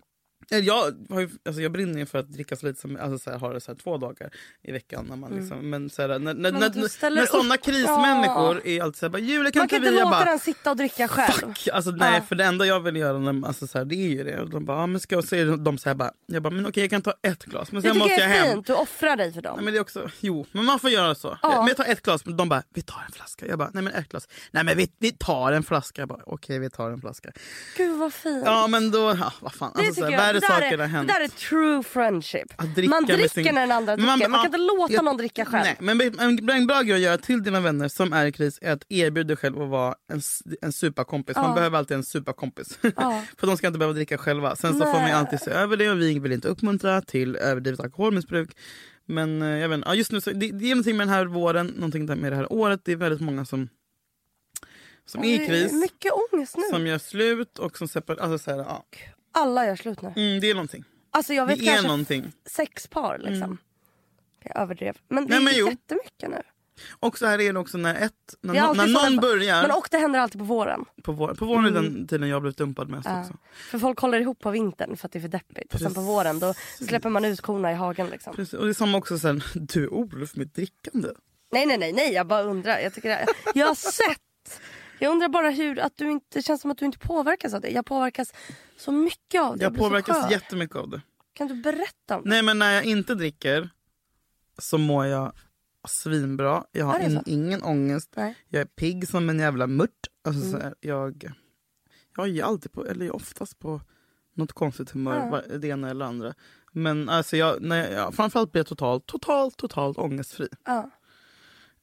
[SPEAKER 2] eller Jag, har ju, alltså jag brinner ju för att dricka så lite som alltså så här, har det så här två dagar i veckan. När man liksom, Men, så här, när, när,
[SPEAKER 3] Mm. Men du
[SPEAKER 2] när,
[SPEAKER 3] ställer
[SPEAKER 2] när såna
[SPEAKER 3] upp.
[SPEAKER 2] krismänniskor är alltid så här, bara, Julia kan,
[SPEAKER 3] Man kan
[SPEAKER 2] inte
[SPEAKER 3] inte
[SPEAKER 2] vi... Jag
[SPEAKER 3] låta
[SPEAKER 2] bara,
[SPEAKER 3] den sitta och dricka själv.
[SPEAKER 2] Fuck! Alltså, nej,
[SPEAKER 3] Ja.
[SPEAKER 2] för det enda jag vill göra när, alltså, så här, det är ju det. Och De bara, ah, men ska jag säga de så här bara, jag bara, men okej jag kan ta ett glas men
[SPEAKER 3] Det
[SPEAKER 2] sen
[SPEAKER 3] tycker
[SPEAKER 2] måste jag
[SPEAKER 3] jag är
[SPEAKER 2] hem.
[SPEAKER 3] fint, du offrar dig för dem.
[SPEAKER 2] Nej, men det är också, jo, men man får göra så.
[SPEAKER 3] Ja.
[SPEAKER 2] Men jag tar ett glas, men de bara, vi tar en flaska. Jag bara, nej men ett glas. Nej men vi, vi tar en flaska. Jag bara, okej vi tar en flaska.
[SPEAKER 3] Gud vad fint.
[SPEAKER 2] Ja men då, ja, vad fan.
[SPEAKER 3] Det
[SPEAKER 2] Alltså, så
[SPEAKER 3] tycker
[SPEAKER 2] här,
[SPEAKER 3] jag är
[SPEAKER 2] värre
[SPEAKER 3] det där
[SPEAKER 2] saker
[SPEAKER 3] är,
[SPEAKER 2] har hänt.
[SPEAKER 3] Det där är true friendship.
[SPEAKER 2] Att dricka
[SPEAKER 3] man
[SPEAKER 2] med
[SPEAKER 3] dricker
[SPEAKER 2] sin-
[SPEAKER 3] när den andra
[SPEAKER 2] Men
[SPEAKER 3] dricker. Man,
[SPEAKER 2] ja,
[SPEAKER 3] kan inte låta
[SPEAKER 2] jag-
[SPEAKER 3] någon dricka själv.
[SPEAKER 2] Nej, men en, en bra grej att göra till dina vänner som är i kris är att erbjuda dig själv att vara en, s- en superkompis. Man
[SPEAKER 3] Ja.
[SPEAKER 2] behöver alltid en superkompis.
[SPEAKER 3] Ja.
[SPEAKER 2] För de ska inte behöva dricka själva. Sen så får man ju
[SPEAKER 3] Nej.
[SPEAKER 2] alltid se över det och vi vill inte uppmuntra till överdrivet alkoholmissbruk. Men eh, jag vet inte, ja, just nu så, det, det är någonting med den här våren, någonting med det här året. Det är väldigt många som, som är i
[SPEAKER 3] Det
[SPEAKER 2] kris.
[SPEAKER 3] Mycket ångest nu.
[SPEAKER 2] Som gör slut och som separerar. Alltså så här, ja.
[SPEAKER 3] Alla gör slut nu.
[SPEAKER 2] mm, det är någonting.
[SPEAKER 3] Alltså jag vet
[SPEAKER 2] Det är
[SPEAKER 3] kanske
[SPEAKER 2] någonting. Mm.
[SPEAKER 3] sex par liksom. Jag överdrev. Men det
[SPEAKER 2] Nej,
[SPEAKER 3] är
[SPEAKER 2] men jo.
[SPEAKER 3] jättemycket nu.
[SPEAKER 2] Och så här är det också när ett, när,
[SPEAKER 3] Det är
[SPEAKER 2] nå-
[SPEAKER 3] alltid
[SPEAKER 2] när
[SPEAKER 3] så
[SPEAKER 2] någon
[SPEAKER 3] den-
[SPEAKER 2] börjar.
[SPEAKER 3] Men och Mm. det händer alltid på våren.
[SPEAKER 2] På, vår, på våren är den tiden jag har blivit dumpad mest också.
[SPEAKER 3] För folk håller ihop på vintern för att det är för deppigt. Och sen på våren då släpper man ut korna i hagen liksom.
[SPEAKER 2] Precis, och det är samma också sen, du Olof med drickande.
[SPEAKER 3] Nej nej nej, nej jag bara undrar. Jag, tycker det, jag har sett. Jag undrar bara hur, att du inte, det känns som att du inte påverkas av det. Jag påverkas så mycket av det.
[SPEAKER 2] Jag
[SPEAKER 3] blir så
[SPEAKER 2] påverkas
[SPEAKER 3] skör.
[SPEAKER 2] jättemycket av det.
[SPEAKER 3] Kan du berätta om det?
[SPEAKER 2] Nej men när jag inte dricker så mår jag svinbra. Jag har
[SPEAKER 3] Ja, det är
[SPEAKER 2] in,
[SPEAKER 3] så.
[SPEAKER 2] ingen ångest.
[SPEAKER 3] Nej.
[SPEAKER 2] Jag är pigg som en jävla mört. Alltså,
[SPEAKER 3] Mm.
[SPEAKER 2] så här, jag, jag är alltid på, eller jag är oftast på något konstigt humör,
[SPEAKER 3] Ja.
[SPEAKER 2] var- det ena eller andra. Men alltså jag, när jag, jag, framförallt blir jag totalt, totalt, totalt ångestfri.
[SPEAKER 3] Ja.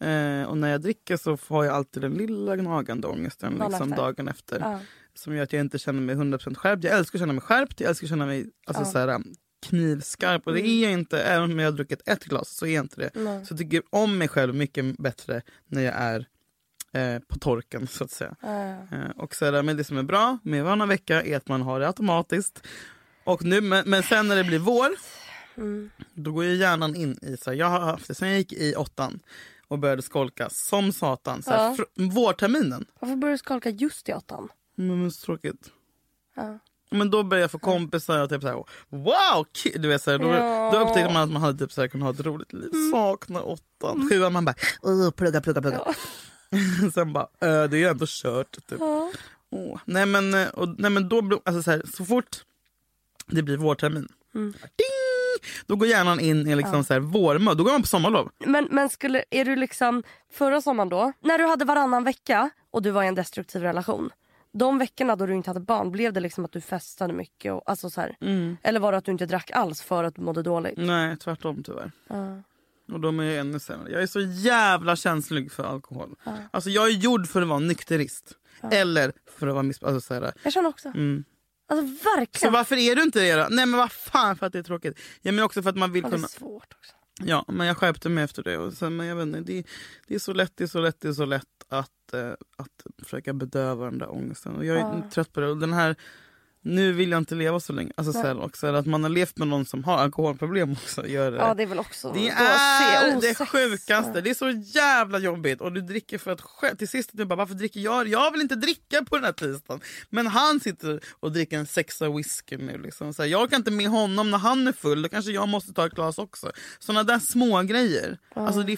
[SPEAKER 2] Eh, och när jag dricker så har jag alltid den lilla gnagande ångesten
[SPEAKER 3] Dagen
[SPEAKER 2] liksom,
[SPEAKER 3] efter.
[SPEAKER 2] dagen efter.
[SPEAKER 3] Ja.
[SPEAKER 2] Som gör att jag inte känner mig 100% skärpt. Jag älskar att känna mig skärpt, jag älskar att känna mig alltså, så här, knivskarp. Och det
[SPEAKER 3] Mm.
[SPEAKER 2] är jag inte, även om jag har druckit ett glas så är jag inte det. Så jag tycker om mig själv mycket bättre när jag är eh, på torken så att säga. Eh, och så är det, men det som är bra med varannan vecka är att man har det automatiskt. Och nu, men, men sen när det blir vår, då går ju hjärnan in i, så här, jag har haft det sen jag gick i åttan och började skolka som satan. Så här,
[SPEAKER 3] Ja.
[SPEAKER 2] fr- vårterminen,
[SPEAKER 3] Varför börjar du skolka just i åttan?
[SPEAKER 2] men, men så tråkigt.
[SPEAKER 3] Ja.
[SPEAKER 2] Men då började jag få kompisar och typ såhär, wow! ki-" Du vet, såhär, då,
[SPEAKER 3] Ja. Mm.
[SPEAKER 2] då upptäckte man att man hade typ såhär, kunnat ha ett roligt liv. Saknar åttan. Sjuan man bara, åh plugga, plugga, plugga. Sen bara, "Äh, det är ju ändå kört. Typ. Åh. Nej, men, eh, och, nej men då blir, alltså, såhär, så fort det blir vårtermin,
[SPEAKER 3] Mm.
[SPEAKER 2] ding! Då går hjärnan in i liksom, såhär, vårmode, då går man på sommarlov.
[SPEAKER 3] Men, men skulle, är du liksom, förra sommaren då, när du hade varannan vecka och du var i en destruktiv relation. De veckorna då du inte hade barn, blev det liksom att du festade mycket? Och, alltså så här,
[SPEAKER 2] Mm.
[SPEAKER 3] Eller var det att du inte drack alls för att du mådde dåligt?
[SPEAKER 2] Nej, tvärtom tyvärr. Och de är ännu sämre. Jag är så jävla känslig för alkohol. Alltså jag är gjord för att vara nykterist. Eller för att vara missbrukare. Alltså, så här,
[SPEAKER 3] Jag känner också.
[SPEAKER 2] Mm.
[SPEAKER 3] Alltså
[SPEAKER 2] så
[SPEAKER 3] verkligen.
[SPEAKER 2] varför är du inte det då? Nej men vad fan för att det är tråkigt. Ja, men också för att man vill
[SPEAKER 3] Ja, det
[SPEAKER 2] kunna...
[SPEAKER 3] är svårt också.
[SPEAKER 2] Ja men jag skärpte mig efter det. Och sen, men jag vet inte, det, det är så lätt, det är så lätt, det är så lätt att, eh, att försöka bedöva den där ångesten. Och jag är trött på det. Och den här, nu vill jag inte leva så länge. Alltså, så här, också, att man har levt med någon som har alkoholproblem också gör det.
[SPEAKER 3] Ja det är väl också
[SPEAKER 2] Det
[SPEAKER 3] då
[SPEAKER 2] är
[SPEAKER 3] se
[SPEAKER 2] det
[SPEAKER 3] osex.
[SPEAKER 2] sjukaste. Det är så jävla jobbigt. Och du dricker för att själv. Till sist du bara, varför dricker jag? Jag vill inte dricka på den här tisdagen. Men han sitter och dricker en sexa whisky nu. Liksom. Så här, jag kan inte med honom när han är full. Då kanske jag måste ta ett glas också. Såna där små grejer. Alltså det är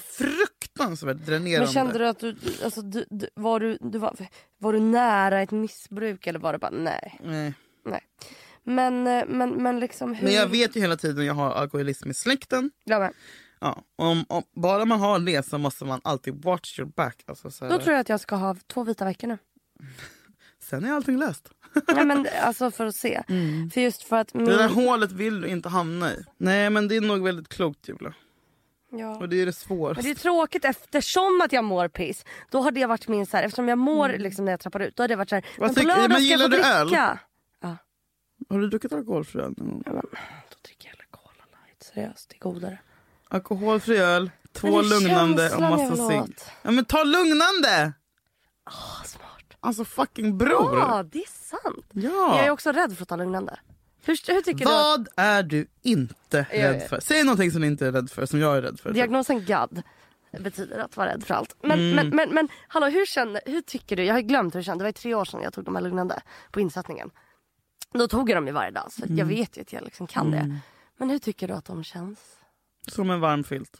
[SPEAKER 2] fruktansvärt
[SPEAKER 3] Men
[SPEAKER 2] dränerande.
[SPEAKER 3] kände du att du, alltså, du, du, var, du, du var, var du nära ett missbruk eller var det bara nej?
[SPEAKER 2] Nej.
[SPEAKER 3] nej. Men, eh, men, men liksom hur...
[SPEAKER 2] Men jag vet ju hela tiden jag har alkoholism i släkten.
[SPEAKER 3] Ja, men.
[SPEAKER 2] Ja. Om, om, bara man har det så måste man alltid watch your back. Alltså, så här,
[SPEAKER 3] Då tror jag att jag ska ha två vita veckor nu.
[SPEAKER 2] Sen är allting löst.
[SPEAKER 3] Nej, men, alltså för att se. För just för att... Min...
[SPEAKER 2] Mm. Det där hålet vill du inte hamna i. Mm. Nej men det är nog väldigt klokt Julia.
[SPEAKER 3] Ja.
[SPEAKER 2] Och det är det
[SPEAKER 3] Men
[SPEAKER 2] svåraste.
[SPEAKER 3] det är tråkigt eftersom att jag mår piss. Då har det varit min så här, eftersom jag mår liksom när jag trappar ut. Då har det varit så här,
[SPEAKER 2] Mm. Vad
[SPEAKER 3] men på
[SPEAKER 2] tycker-
[SPEAKER 3] lördag
[SPEAKER 2] men
[SPEAKER 3] ska jag få
[SPEAKER 2] gillar du öl?
[SPEAKER 3] dricka.
[SPEAKER 2] Har du druckit alkoholfri öl någon gång?
[SPEAKER 3] Ja, men, då dricker jag alkohol och light. Seriöst, det är godare.
[SPEAKER 2] Alkoholfri öl,
[SPEAKER 3] Men
[SPEAKER 2] två
[SPEAKER 3] det är
[SPEAKER 2] lugnande och
[SPEAKER 3] känslan jag
[SPEAKER 2] massa
[SPEAKER 3] vill
[SPEAKER 2] cigg.
[SPEAKER 3] åt.
[SPEAKER 2] Ja men ta lugnande!
[SPEAKER 3] Ah, smart.
[SPEAKER 2] Alltså fucking bror!
[SPEAKER 3] Ja, det är sant. Men Jag är
[SPEAKER 2] ja.
[SPEAKER 3] också rädd för att ta lugnande. Hur, hur tycker du? Att,
[SPEAKER 2] Vad är du inte
[SPEAKER 3] Ja,
[SPEAKER 2] rädd
[SPEAKER 3] ja.
[SPEAKER 2] för? Säg någonting som du inte är rädd för, som jag är rädd för.
[SPEAKER 3] diagnosen GAD betyder att vara rädd för allt. Men,
[SPEAKER 2] Mm.
[SPEAKER 3] men, men, men hallå, hur, känner, hur tycker du? Jag har glömt hur det kändes. Det var ju tre år sedan jag tog de här lugnande på insättningen. Då tog jag dem ju varje dag så att
[SPEAKER 2] Mm.
[SPEAKER 3] jag vet ju att jag liksom kan det. Men hur tycker du att de känns?
[SPEAKER 2] Som en varm filt.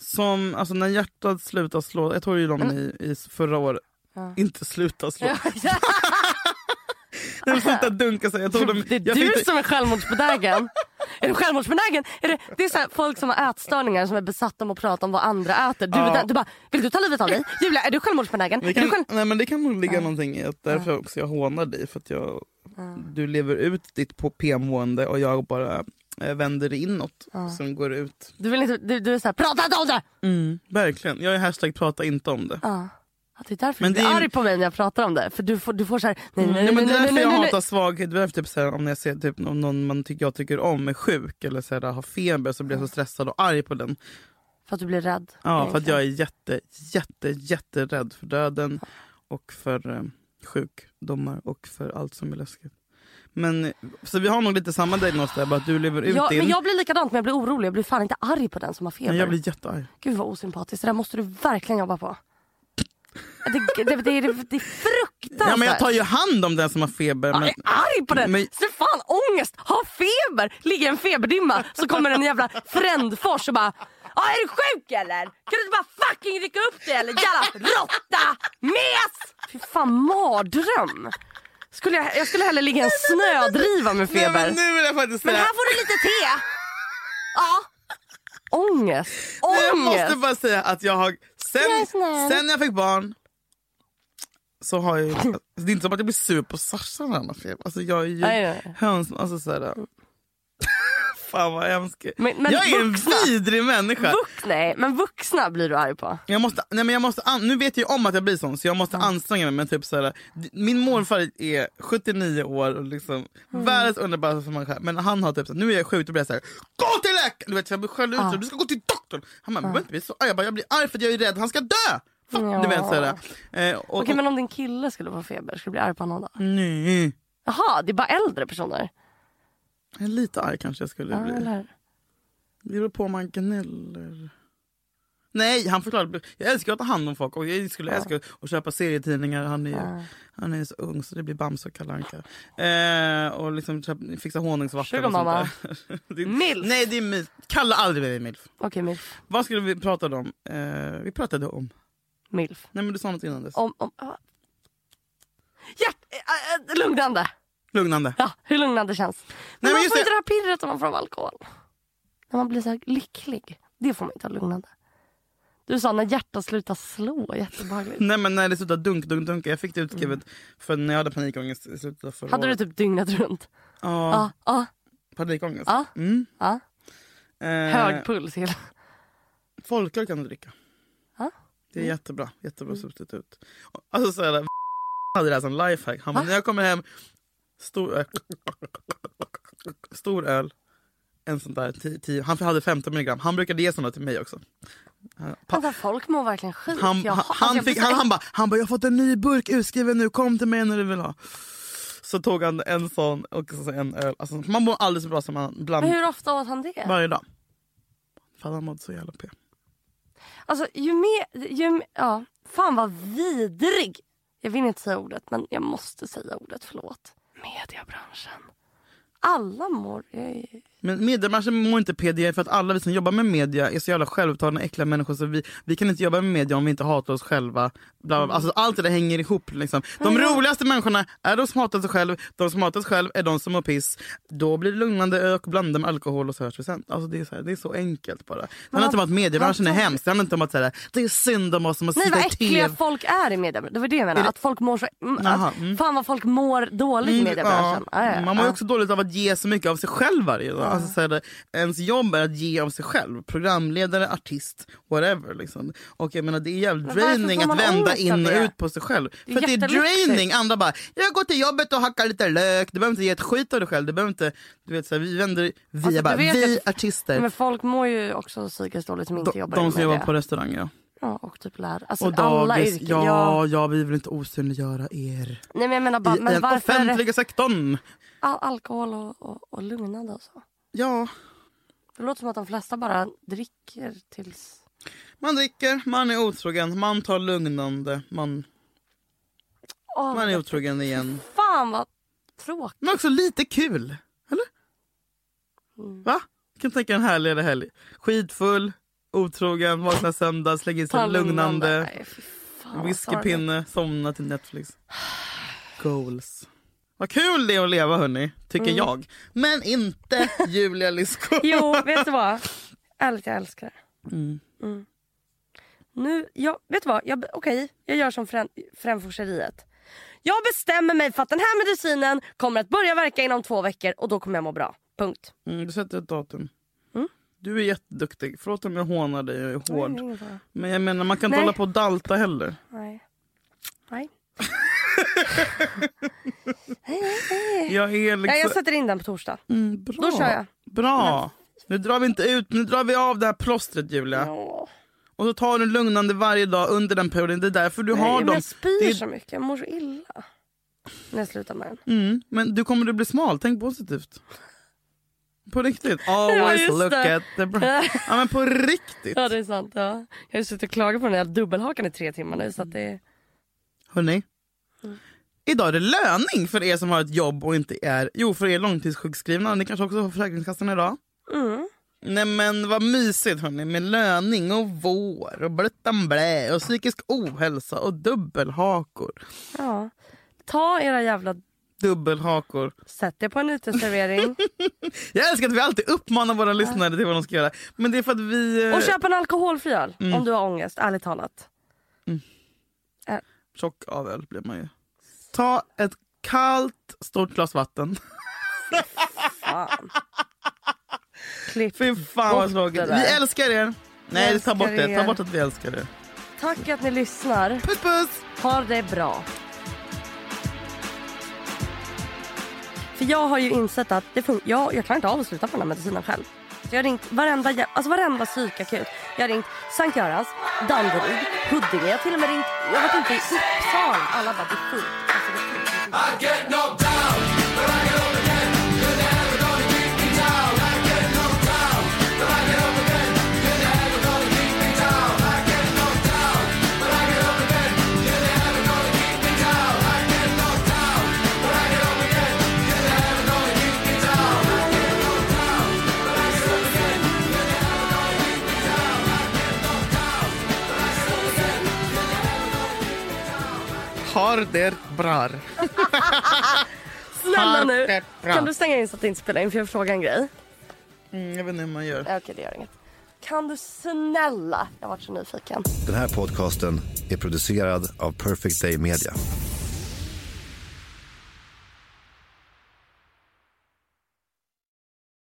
[SPEAKER 2] Som, alltså när hjärtat slutar slå, jag tog ju dem i, i förra året. Inte sluta slå. Nej, men sluta dunka sig. Jag tog dem,
[SPEAKER 3] Det är
[SPEAKER 2] jag
[SPEAKER 3] du
[SPEAKER 2] fick det-
[SPEAKER 3] som är självmordsbenägen. är du självmordsbenägen? Är det, det är så här, folk som har ätstörningar som är besatta av att prata om vad andra äter. Du,
[SPEAKER 2] Ja.
[SPEAKER 3] är där- du bara, vill du ta livet av dig? Julia, är du självmordsbenägen?
[SPEAKER 2] Det
[SPEAKER 3] Är du
[SPEAKER 2] kan,
[SPEAKER 3] själv...
[SPEAKER 2] nej, men det kan nog ligga någonting i att därför också jag hånar dig för att jag Du lever ut ditt på- PM-mående och jag bara eh, vänder inåt som går ut.
[SPEAKER 3] Du vill inte, du, du är såhär, prata inte om det!
[SPEAKER 2] Verkligen, jag är hashtag prata inte om det. Mm.
[SPEAKER 3] Att det är därför
[SPEAKER 2] Men
[SPEAKER 3] du blir
[SPEAKER 2] det är-
[SPEAKER 3] arg på mig när jag pratar om det. För du får, du får såhär, nej nej
[SPEAKER 2] Ja,
[SPEAKER 3] nej
[SPEAKER 2] men det är
[SPEAKER 3] nej,
[SPEAKER 2] därför
[SPEAKER 3] nej,
[SPEAKER 2] jag
[SPEAKER 3] nej, nej.
[SPEAKER 2] hatar svaghet. Det är därför typ så här, om jag ser typ om någon man tycker jag tycker om är sjuk eller så här, har feber så blir jag så stressad och arg på den.
[SPEAKER 3] För att du blir rädd.
[SPEAKER 2] Ja, för att
[SPEAKER 3] egentligen.
[SPEAKER 2] jag är jätte, jätte, jätterädd för döden och för eh, sjukdomar och för allt som är läskigt. Men, så vi har nog lite samma diagnos där, bara att du lever ut
[SPEAKER 3] Ja,
[SPEAKER 2] din.
[SPEAKER 3] men jag blir likadant men jag blir orolig. Jag blir fan inte arg på den som har feber.
[SPEAKER 2] Men jag blir jättearg.
[SPEAKER 3] Gud vad osympatiskt. Det där måste du verkligen jobba på. Det, det, det, det, det är fruktansvärt.
[SPEAKER 2] Ja, men jag tar ju hand om den som har feber.
[SPEAKER 3] Ja,
[SPEAKER 2] Men,
[SPEAKER 3] jag är arg på den!
[SPEAKER 2] Men-
[SPEAKER 3] Så fan ångest, ha feber, ligga i en feberdimma så kommer en jävla Frändfors och bara Ja är du sjuk eller? Kan du inte bara fucking rycka upp dig eller jävla råtta mes! Fy fan mardröm! Skulle jag, jag skulle hellre ligga i en snödriva med
[SPEAKER 2] Nej,
[SPEAKER 3] feber.
[SPEAKER 2] men nu vill jag faktiskt
[SPEAKER 3] Men
[SPEAKER 2] säga-
[SPEAKER 3] här får du lite te! Ja. Ångest,
[SPEAKER 2] Nej, Jag måste
[SPEAKER 3] ångest!
[SPEAKER 2] bara säga att jag har... Sen,
[SPEAKER 3] är snäll.
[SPEAKER 2] sen när jag fick barn så har jag ju... alltså, Det är inte som att jag blir sur på Sasha när han har feber. Alltså jag är ju
[SPEAKER 3] Nej, nej, nej.
[SPEAKER 2] höns... Alltså så här, fan vad hemskt.
[SPEAKER 3] Men- men
[SPEAKER 2] jag är
[SPEAKER 3] vuxna-
[SPEAKER 2] en vidrig människa.
[SPEAKER 3] Vux, nej, men vuxna blir du arg på.
[SPEAKER 2] Jag måste, nej men jag måste an, nu vet jag ju om att jag blir sån så jag måste anstränga mig. Men typ så här, d- min morfar är 79 år och liksom
[SPEAKER 3] Mm.
[SPEAKER 2] världens underbaraste människa. Men han har typ så här, nu är jag sjuk och blir så här, gå till läkaren! Du vet, för jag blir själv ut så här, du ska gå till doktorn. Han bara, "Men jag behöver inte bli så arg. Jag bara, jag blir arg för att jag är rädd, han ska dö! Fuck, Du vet så här, eh, och,
[SPEAKER 3] Okej men om din kille skulle få feber, skulle du bli arg på honom då?
[SPEAKER 2] och, nej,
[SPEAKER 3] Jaha, det är bara äldre personer?
[SPEAKER 2] jag är lite arg kanske jag skulle
[SPEAKER 3] Ja,
[SPEAKER 2] bli.
[SPEAKER 3] eller hur?
[SPEAKER 2] Det beror på om man gnäller. Nej, han förklarade. Jag älskar att ta hand om folk och jag skulle älska att köpa serietidningar. Han är ju han är ju så ung så det blir Bamse och Kalle Anka. Eh, och liksom köp- fixa honungsvatten
[SPEAKER 3] Sugar
[SPEAKER 2] och sånt
[SPEAKER 3] mamma.
[SPEAKER 2] där. Det är-
[SPEAKER 3] Milf.
[SPEAKER 2] Nej, det är milf. Kalla aldrig mig milf.
[SPEAKER 3] Okej, milf.
[SPEAKER 2] Vad skulle vi prata om? Eh, vi pratade om...
[SPEAKER 3] milf.
[SPEAKER 2] Nej men du sa något innan dess.
[SPEAKER 3] Om, om, ah. Hjärt... Äh, äh, lugnande!
[SPEAKER 2] Lugnande.
[SPEAKER 3] Ja, hur lugnande känns. Men
[SPEAKER 2] men
[SPEAKER 3] man
[SPEAKER 2] just
[SPEAKER 3] får inte
[SPEAKER 2] det.
[SPEAKER 3] det här pirret om man får av alkohol. När man blir så här lycklig. Det får man inte ha lugnande. Du sa när hjärtat slutar slå, jättebehagligt.
[SPEAKER 2] Nej men när det slutade dunk, dunk, dunka. Jag fick det utskrivet för när jag hade panikångest i slutet av förra
[SPEAKER 3] Mm. Hade du
[SPEAKER 2] året.
[SPEAKER 3] typ dygnet runt?
[SPEAKER 2] Ja,
[SPEAKER 3] Ja, ja,
[SPEAKER 2] panikångest.
[SPEAKER 3] ja.
[SPEAKER 2] Mm.
[SPEAKER 3] ja.
[SPEAKER 2] Eh,
[SPEAKER 3] Hög puls hela...
[SPEAKER 2] Folköl kan du dricka.
[SPEAKER 3] Ja. Mm.
[SPEAKER 2] Det är jättebra. Jättebra substitut. Alltså så här, hade det här som lifehack. Han bara, när jag kommer hem, stor öl. Stor öl. En sån där 10, 10. Han hade 15 milligram. Han brukade ge såna till mig också.
[SPEAKER 3] Alltså, folk mår verkligen skit.
[SPEAKER 2] Han,
[SPEAKER 3] Jag-
[SPEAKER 2] han,
[SPEAKER 3] alltså, jag
[SPEAKER 2] han, fick,
[SPEAKER 3] blir
[SPEAKER 2] han,
[SPEAKER 3] så-
[SPEAKER 2] han bara, han bara, jag har fått en ny burk utskriven nu, kom till mig när du vill ha. Så tog han en sån och så en öl. Alltså, man mår aldrig så bra som man
[SPEAKER 3] Men
[SPEAKER 2] bland
[SPEAKER 3] hur ofta åt han det?
[SPEAKER 2] varje dag. För han mådde så jävla p.
[SPEAKER 3] Alltså ju mer... Ju, ja, fan vad vidrig. Jag vill inte säga ordet, men jag måste säga ordet. Förlåt. Mediebranschen. Alla mår... eh,
[SPEAKER 2] Men mediebranschen mår inte PDA för att alla vi som jobbar med media är så jävla självupptagna äckliga människor så vi, vi kan inte jobba med media om vi inte hatar oss själva. Bla, bla, bla. Alltså, allt det där hänger ihop. Liksom. De roligaste människorna är de som hatar sig själv, de som hatar sig själv är de som mår piss. Då blir det lugnande ök, blanda med alkohol och så hörs vi sen. Alltså, det, är så här, det är så enkelt bara. Det handlar inte om att mediebranschen är hemskt, det handlar inte om att så här, det är synd om oss som har
[SPEAKER 3] Nej vad
[SPEAKER 2] suttit i
[SPEAKER 3] äckliga
[SPEAKER 2] tv.
[SPEAKER 3] folk är i mediebranschen. Det var det jag menade. Att folk mår så... Mm,
[SPEAKER 2] Jaha,
[SPEAKER 3] att,
[SPEAKER 2] mm.
[SPEAKER 3] Fan vad folk mår dåligt i
[SPEAKER 2] Mm,
[SPEAKER 3] mediebranschen.
[SPEAKER 2] ja.
[SPEAKER 3] Ja, ja, ja.
[SPEAKER 2] Man mår ju också dåligt av att ge så mycket av sig själv varje dag. Alltså, så här, det- ens jobb är att ge av sig själv. Programledare, artist, whatever. Liksom. Och jag menar, det är jävligt
[SPEAKER 3] Men varför
[SPEAKER 2] draining
[SPEAKER 3] får
[SPEAKER 2] att
[SPEAKER 3] man
[SPEAKER 2] vända
[SPEAKER 3] ångest av
[SPEAKER 2] in och
[SPEAKER 3] det?
[SPEAKER 2] ut på sig själv.
[SPEAKER 3] Det är
[SPEAKER 2] För att det är
[SPEAKER 3] jättelyxigt.
[SPEAKER 2] draining. Andra bara, jag går till jobbet och hackar lite lök. Du behöver inte ge ett skit av dig själv. Du behöver inte, du vet, så här, vi vänder, vi,
[SPEAKER 3] Alltså,
[SPEAKER 2] är bara,
[SPEAKER 3] du vet
[SPEAKER 2] vi
[SPEAKER 3] att-
[SPEAKER 2] artister.
[SPEAKER 3] Nej, Men folk mår ju också psykiskt dåligt som inte
[SPEAKER 2] de,
[SPEAKER 3] jobbar
[SPEAKER 2] de
[SPEAKER 3] i
[SPEAKER 2] som
[SPEAKER 3] media.
[SPEAKER 2] jobbar på restauranger. Ja.
[SPEAKER 3] Ja, och typ lärare. Alltså
[SPEAKER 2] Och
[SPEAKER 3] alla
[SPEAKER 2] dagis.
[SPEAKER 3] yrken.
[SPEAKER 2] Ja,
[SPEAKER 3] ja.
[SPEAKER 2] ja. vi vill inte osynliggöra er.
[SPEAKER 3] Nej men jag menar bara,
[SPEAKER 2] I
[SPEAKER 3] men
[SPEAKER 2] den
[SPEAKER 3] varför är det
[SPEAKER 2] offentliga sektorn.
[SPEAKER 3] all- alkohol och, och, och lugnande och så?
[SPEAKER 2] Ja.
[SPEAKER 3] Det låter som att de flesta bara dricker tills...
[SPEAKER 2] Man dricker, man är otrogen, man tar lugnande, man,
[SPEAKER 3] Åh,
[SPEAKER 2] man är otrogen igen.
[SPEAKER 3] Fan vad tråkigt.
[SPEAKER 2] Men också lite kul. Eller?
[SPEAKER 3] Mm.
[SPEAKER 2] Va? Jag kan tänka en härligare helg. Skitfull, otrogen, vakna söndag, släng i sig lugnande,
[SPEAKER 3] Nej, fy fan, vad sorgligt.
[SPEAKER 2] whiskypinne, somna till Netflix. Goals. Vad kul det är att leva hörni, tycker jag. Men inte Julia Lysko.
[SPEAKER 3] Mm. Jo, vet du vad? Ärligt, jag älskar det. Mm. Nu, jag, vet du vad? Jag, okej, jag gör som frän, fränforseriet. Jag bestämmer mig för att den här medicinen kommer att börja verka inom två veckor och då kommer jag må bra. Punkt.
[SPEAKER 2] Mm, du sätter ett datum.
[SPEAKER 3] Mm.
[SPEAKER 2] Du är jätteduktig. Förlåt om jag hånar dig och är hård. Men jag menar, man kan inte
[SPEAKER 3] Nej.
[SPEAKER 2] hålla på och dalta heller.
[SPEAKER 3] Nej. Nej.
[SPEAKER 2] Jag är liksom...
[SPEAKER 3] Nej, jag sätter in den på torsdag.
[SPEAKER 2] Mm, bra.
[SPEAKER 3] Då kör jag.
[SPEAKER 2] Bra. Nu drar vi inte ut, nu drar vi av det här plåstret Julia.
[SPEAKER 3] Åh.
[SPEAKER 2] Och så tar du lugnande varje dag under den perioden. Det är därför du
[SPEAKER 3] Nej,
[SPEAKER 2] har
[SPEAKER 3] men
[SPEAKER 2] dem.
[SPEAKER 3] jag spyr
[SPEAKER 2] Det är-
[SPEAKER 3] så mycket, jag mår så illa. När jag slutar med den.
[SPEAKER 2] Mm, men du kommer att bli smal, tänk positivt. På riktigt.
[SPEAKER 3] Ja,
[SPEAKER 2] Always
[SPEAKER 3] just
[SPEAKER 2] look
[SPEAKER 3] det.
[SPEAKER 2] at the bra- Ja men på riktigt.
[SPEAKER 3] Ja det är sant. Ja. Jag har ju suttit och klagat på den här dubbelhakan i tre timmar nu så att det
[SPEAKER 2] Hörrni.
[SPEAKER 3] Mm.
[SPEAKER 2] Idag är det löning för er som har ett jobb och inte är... Jo, för er långtidssjukskrivna. Ni kanske också har Försäkringskassan idag.
[SPEAKER 3] Mm.
[SPEAKER 2] Nej men vad mysigt hörni med löning och vår och blöttan blä och psykisk ohälsa och dubbelhakor.
[SPEAKER 3] ja. Ta era jävla...
[SPEAKER 2] Dubbelhakor.
[SPEAKER 3] Sätt er på en uteservering
[SPEAKER 2] Jag älskar att vi alltid uppmanar våra lyssnare till vad de ska göra. Men det är för att vi... eh,
[SPEAKER 3] och köp en alkoholfri öl om du har ångest, ärligt talat.
[SPEAKER 2] Tjock av öl blir man ju. Ta ett kallt stort glas vatten.
[SPEAKER 3] Fan. Klipp.
[SPEAKER 2] Fy fan vad
[SPEAKER 3] Bort
[SPEAKER 2] tråkigt.
[SPEAKER 3] det där.
[SPEAKER 2] Vi älskar er. Nej,
[SPEAKER 3] Älskar
[SPEAKER 2] ta bort det.
[SPEAKER 3] er.
[SPEAKER 2] Ta bort att vi älskar er.
[SPEAKER 3] Tack att ni lyssnar.
[SPEAKER 2] Puss puss!
[SPEAKER 3] Ha det bra. För jag har ju insett att det fun- jag, jag klarar inte av att sluta på den här medicinen själv. Så jag har ringt varenda, jä- alltså varenda psykakut. Jag har ringt Sankt Görans, Danderyd, Huddinge. Jag har till och med ringt, jag vet inte, i Uppsala. Alla bara, det är fullt. Alltså, det är fullt. Det är fullt.
[SPEAKER 2] Har det bra.
[SPEAKER 3] Snälla nu,
[SPEAKER 2] Perfekt, bra.
[SPEAKER 3] kan du stänga in så att det inte spelar in? För jag vill fråga en grej.
[SPEAKER 2] Mm, jag vet inte hur man gör.
[SPEAKER 3] Nej, Okej, det gör inget. Kan du snälla, jag har varit så nyfiken.
[SPEAKER 4] Den här podcasten är producerad av Perfect Day Media.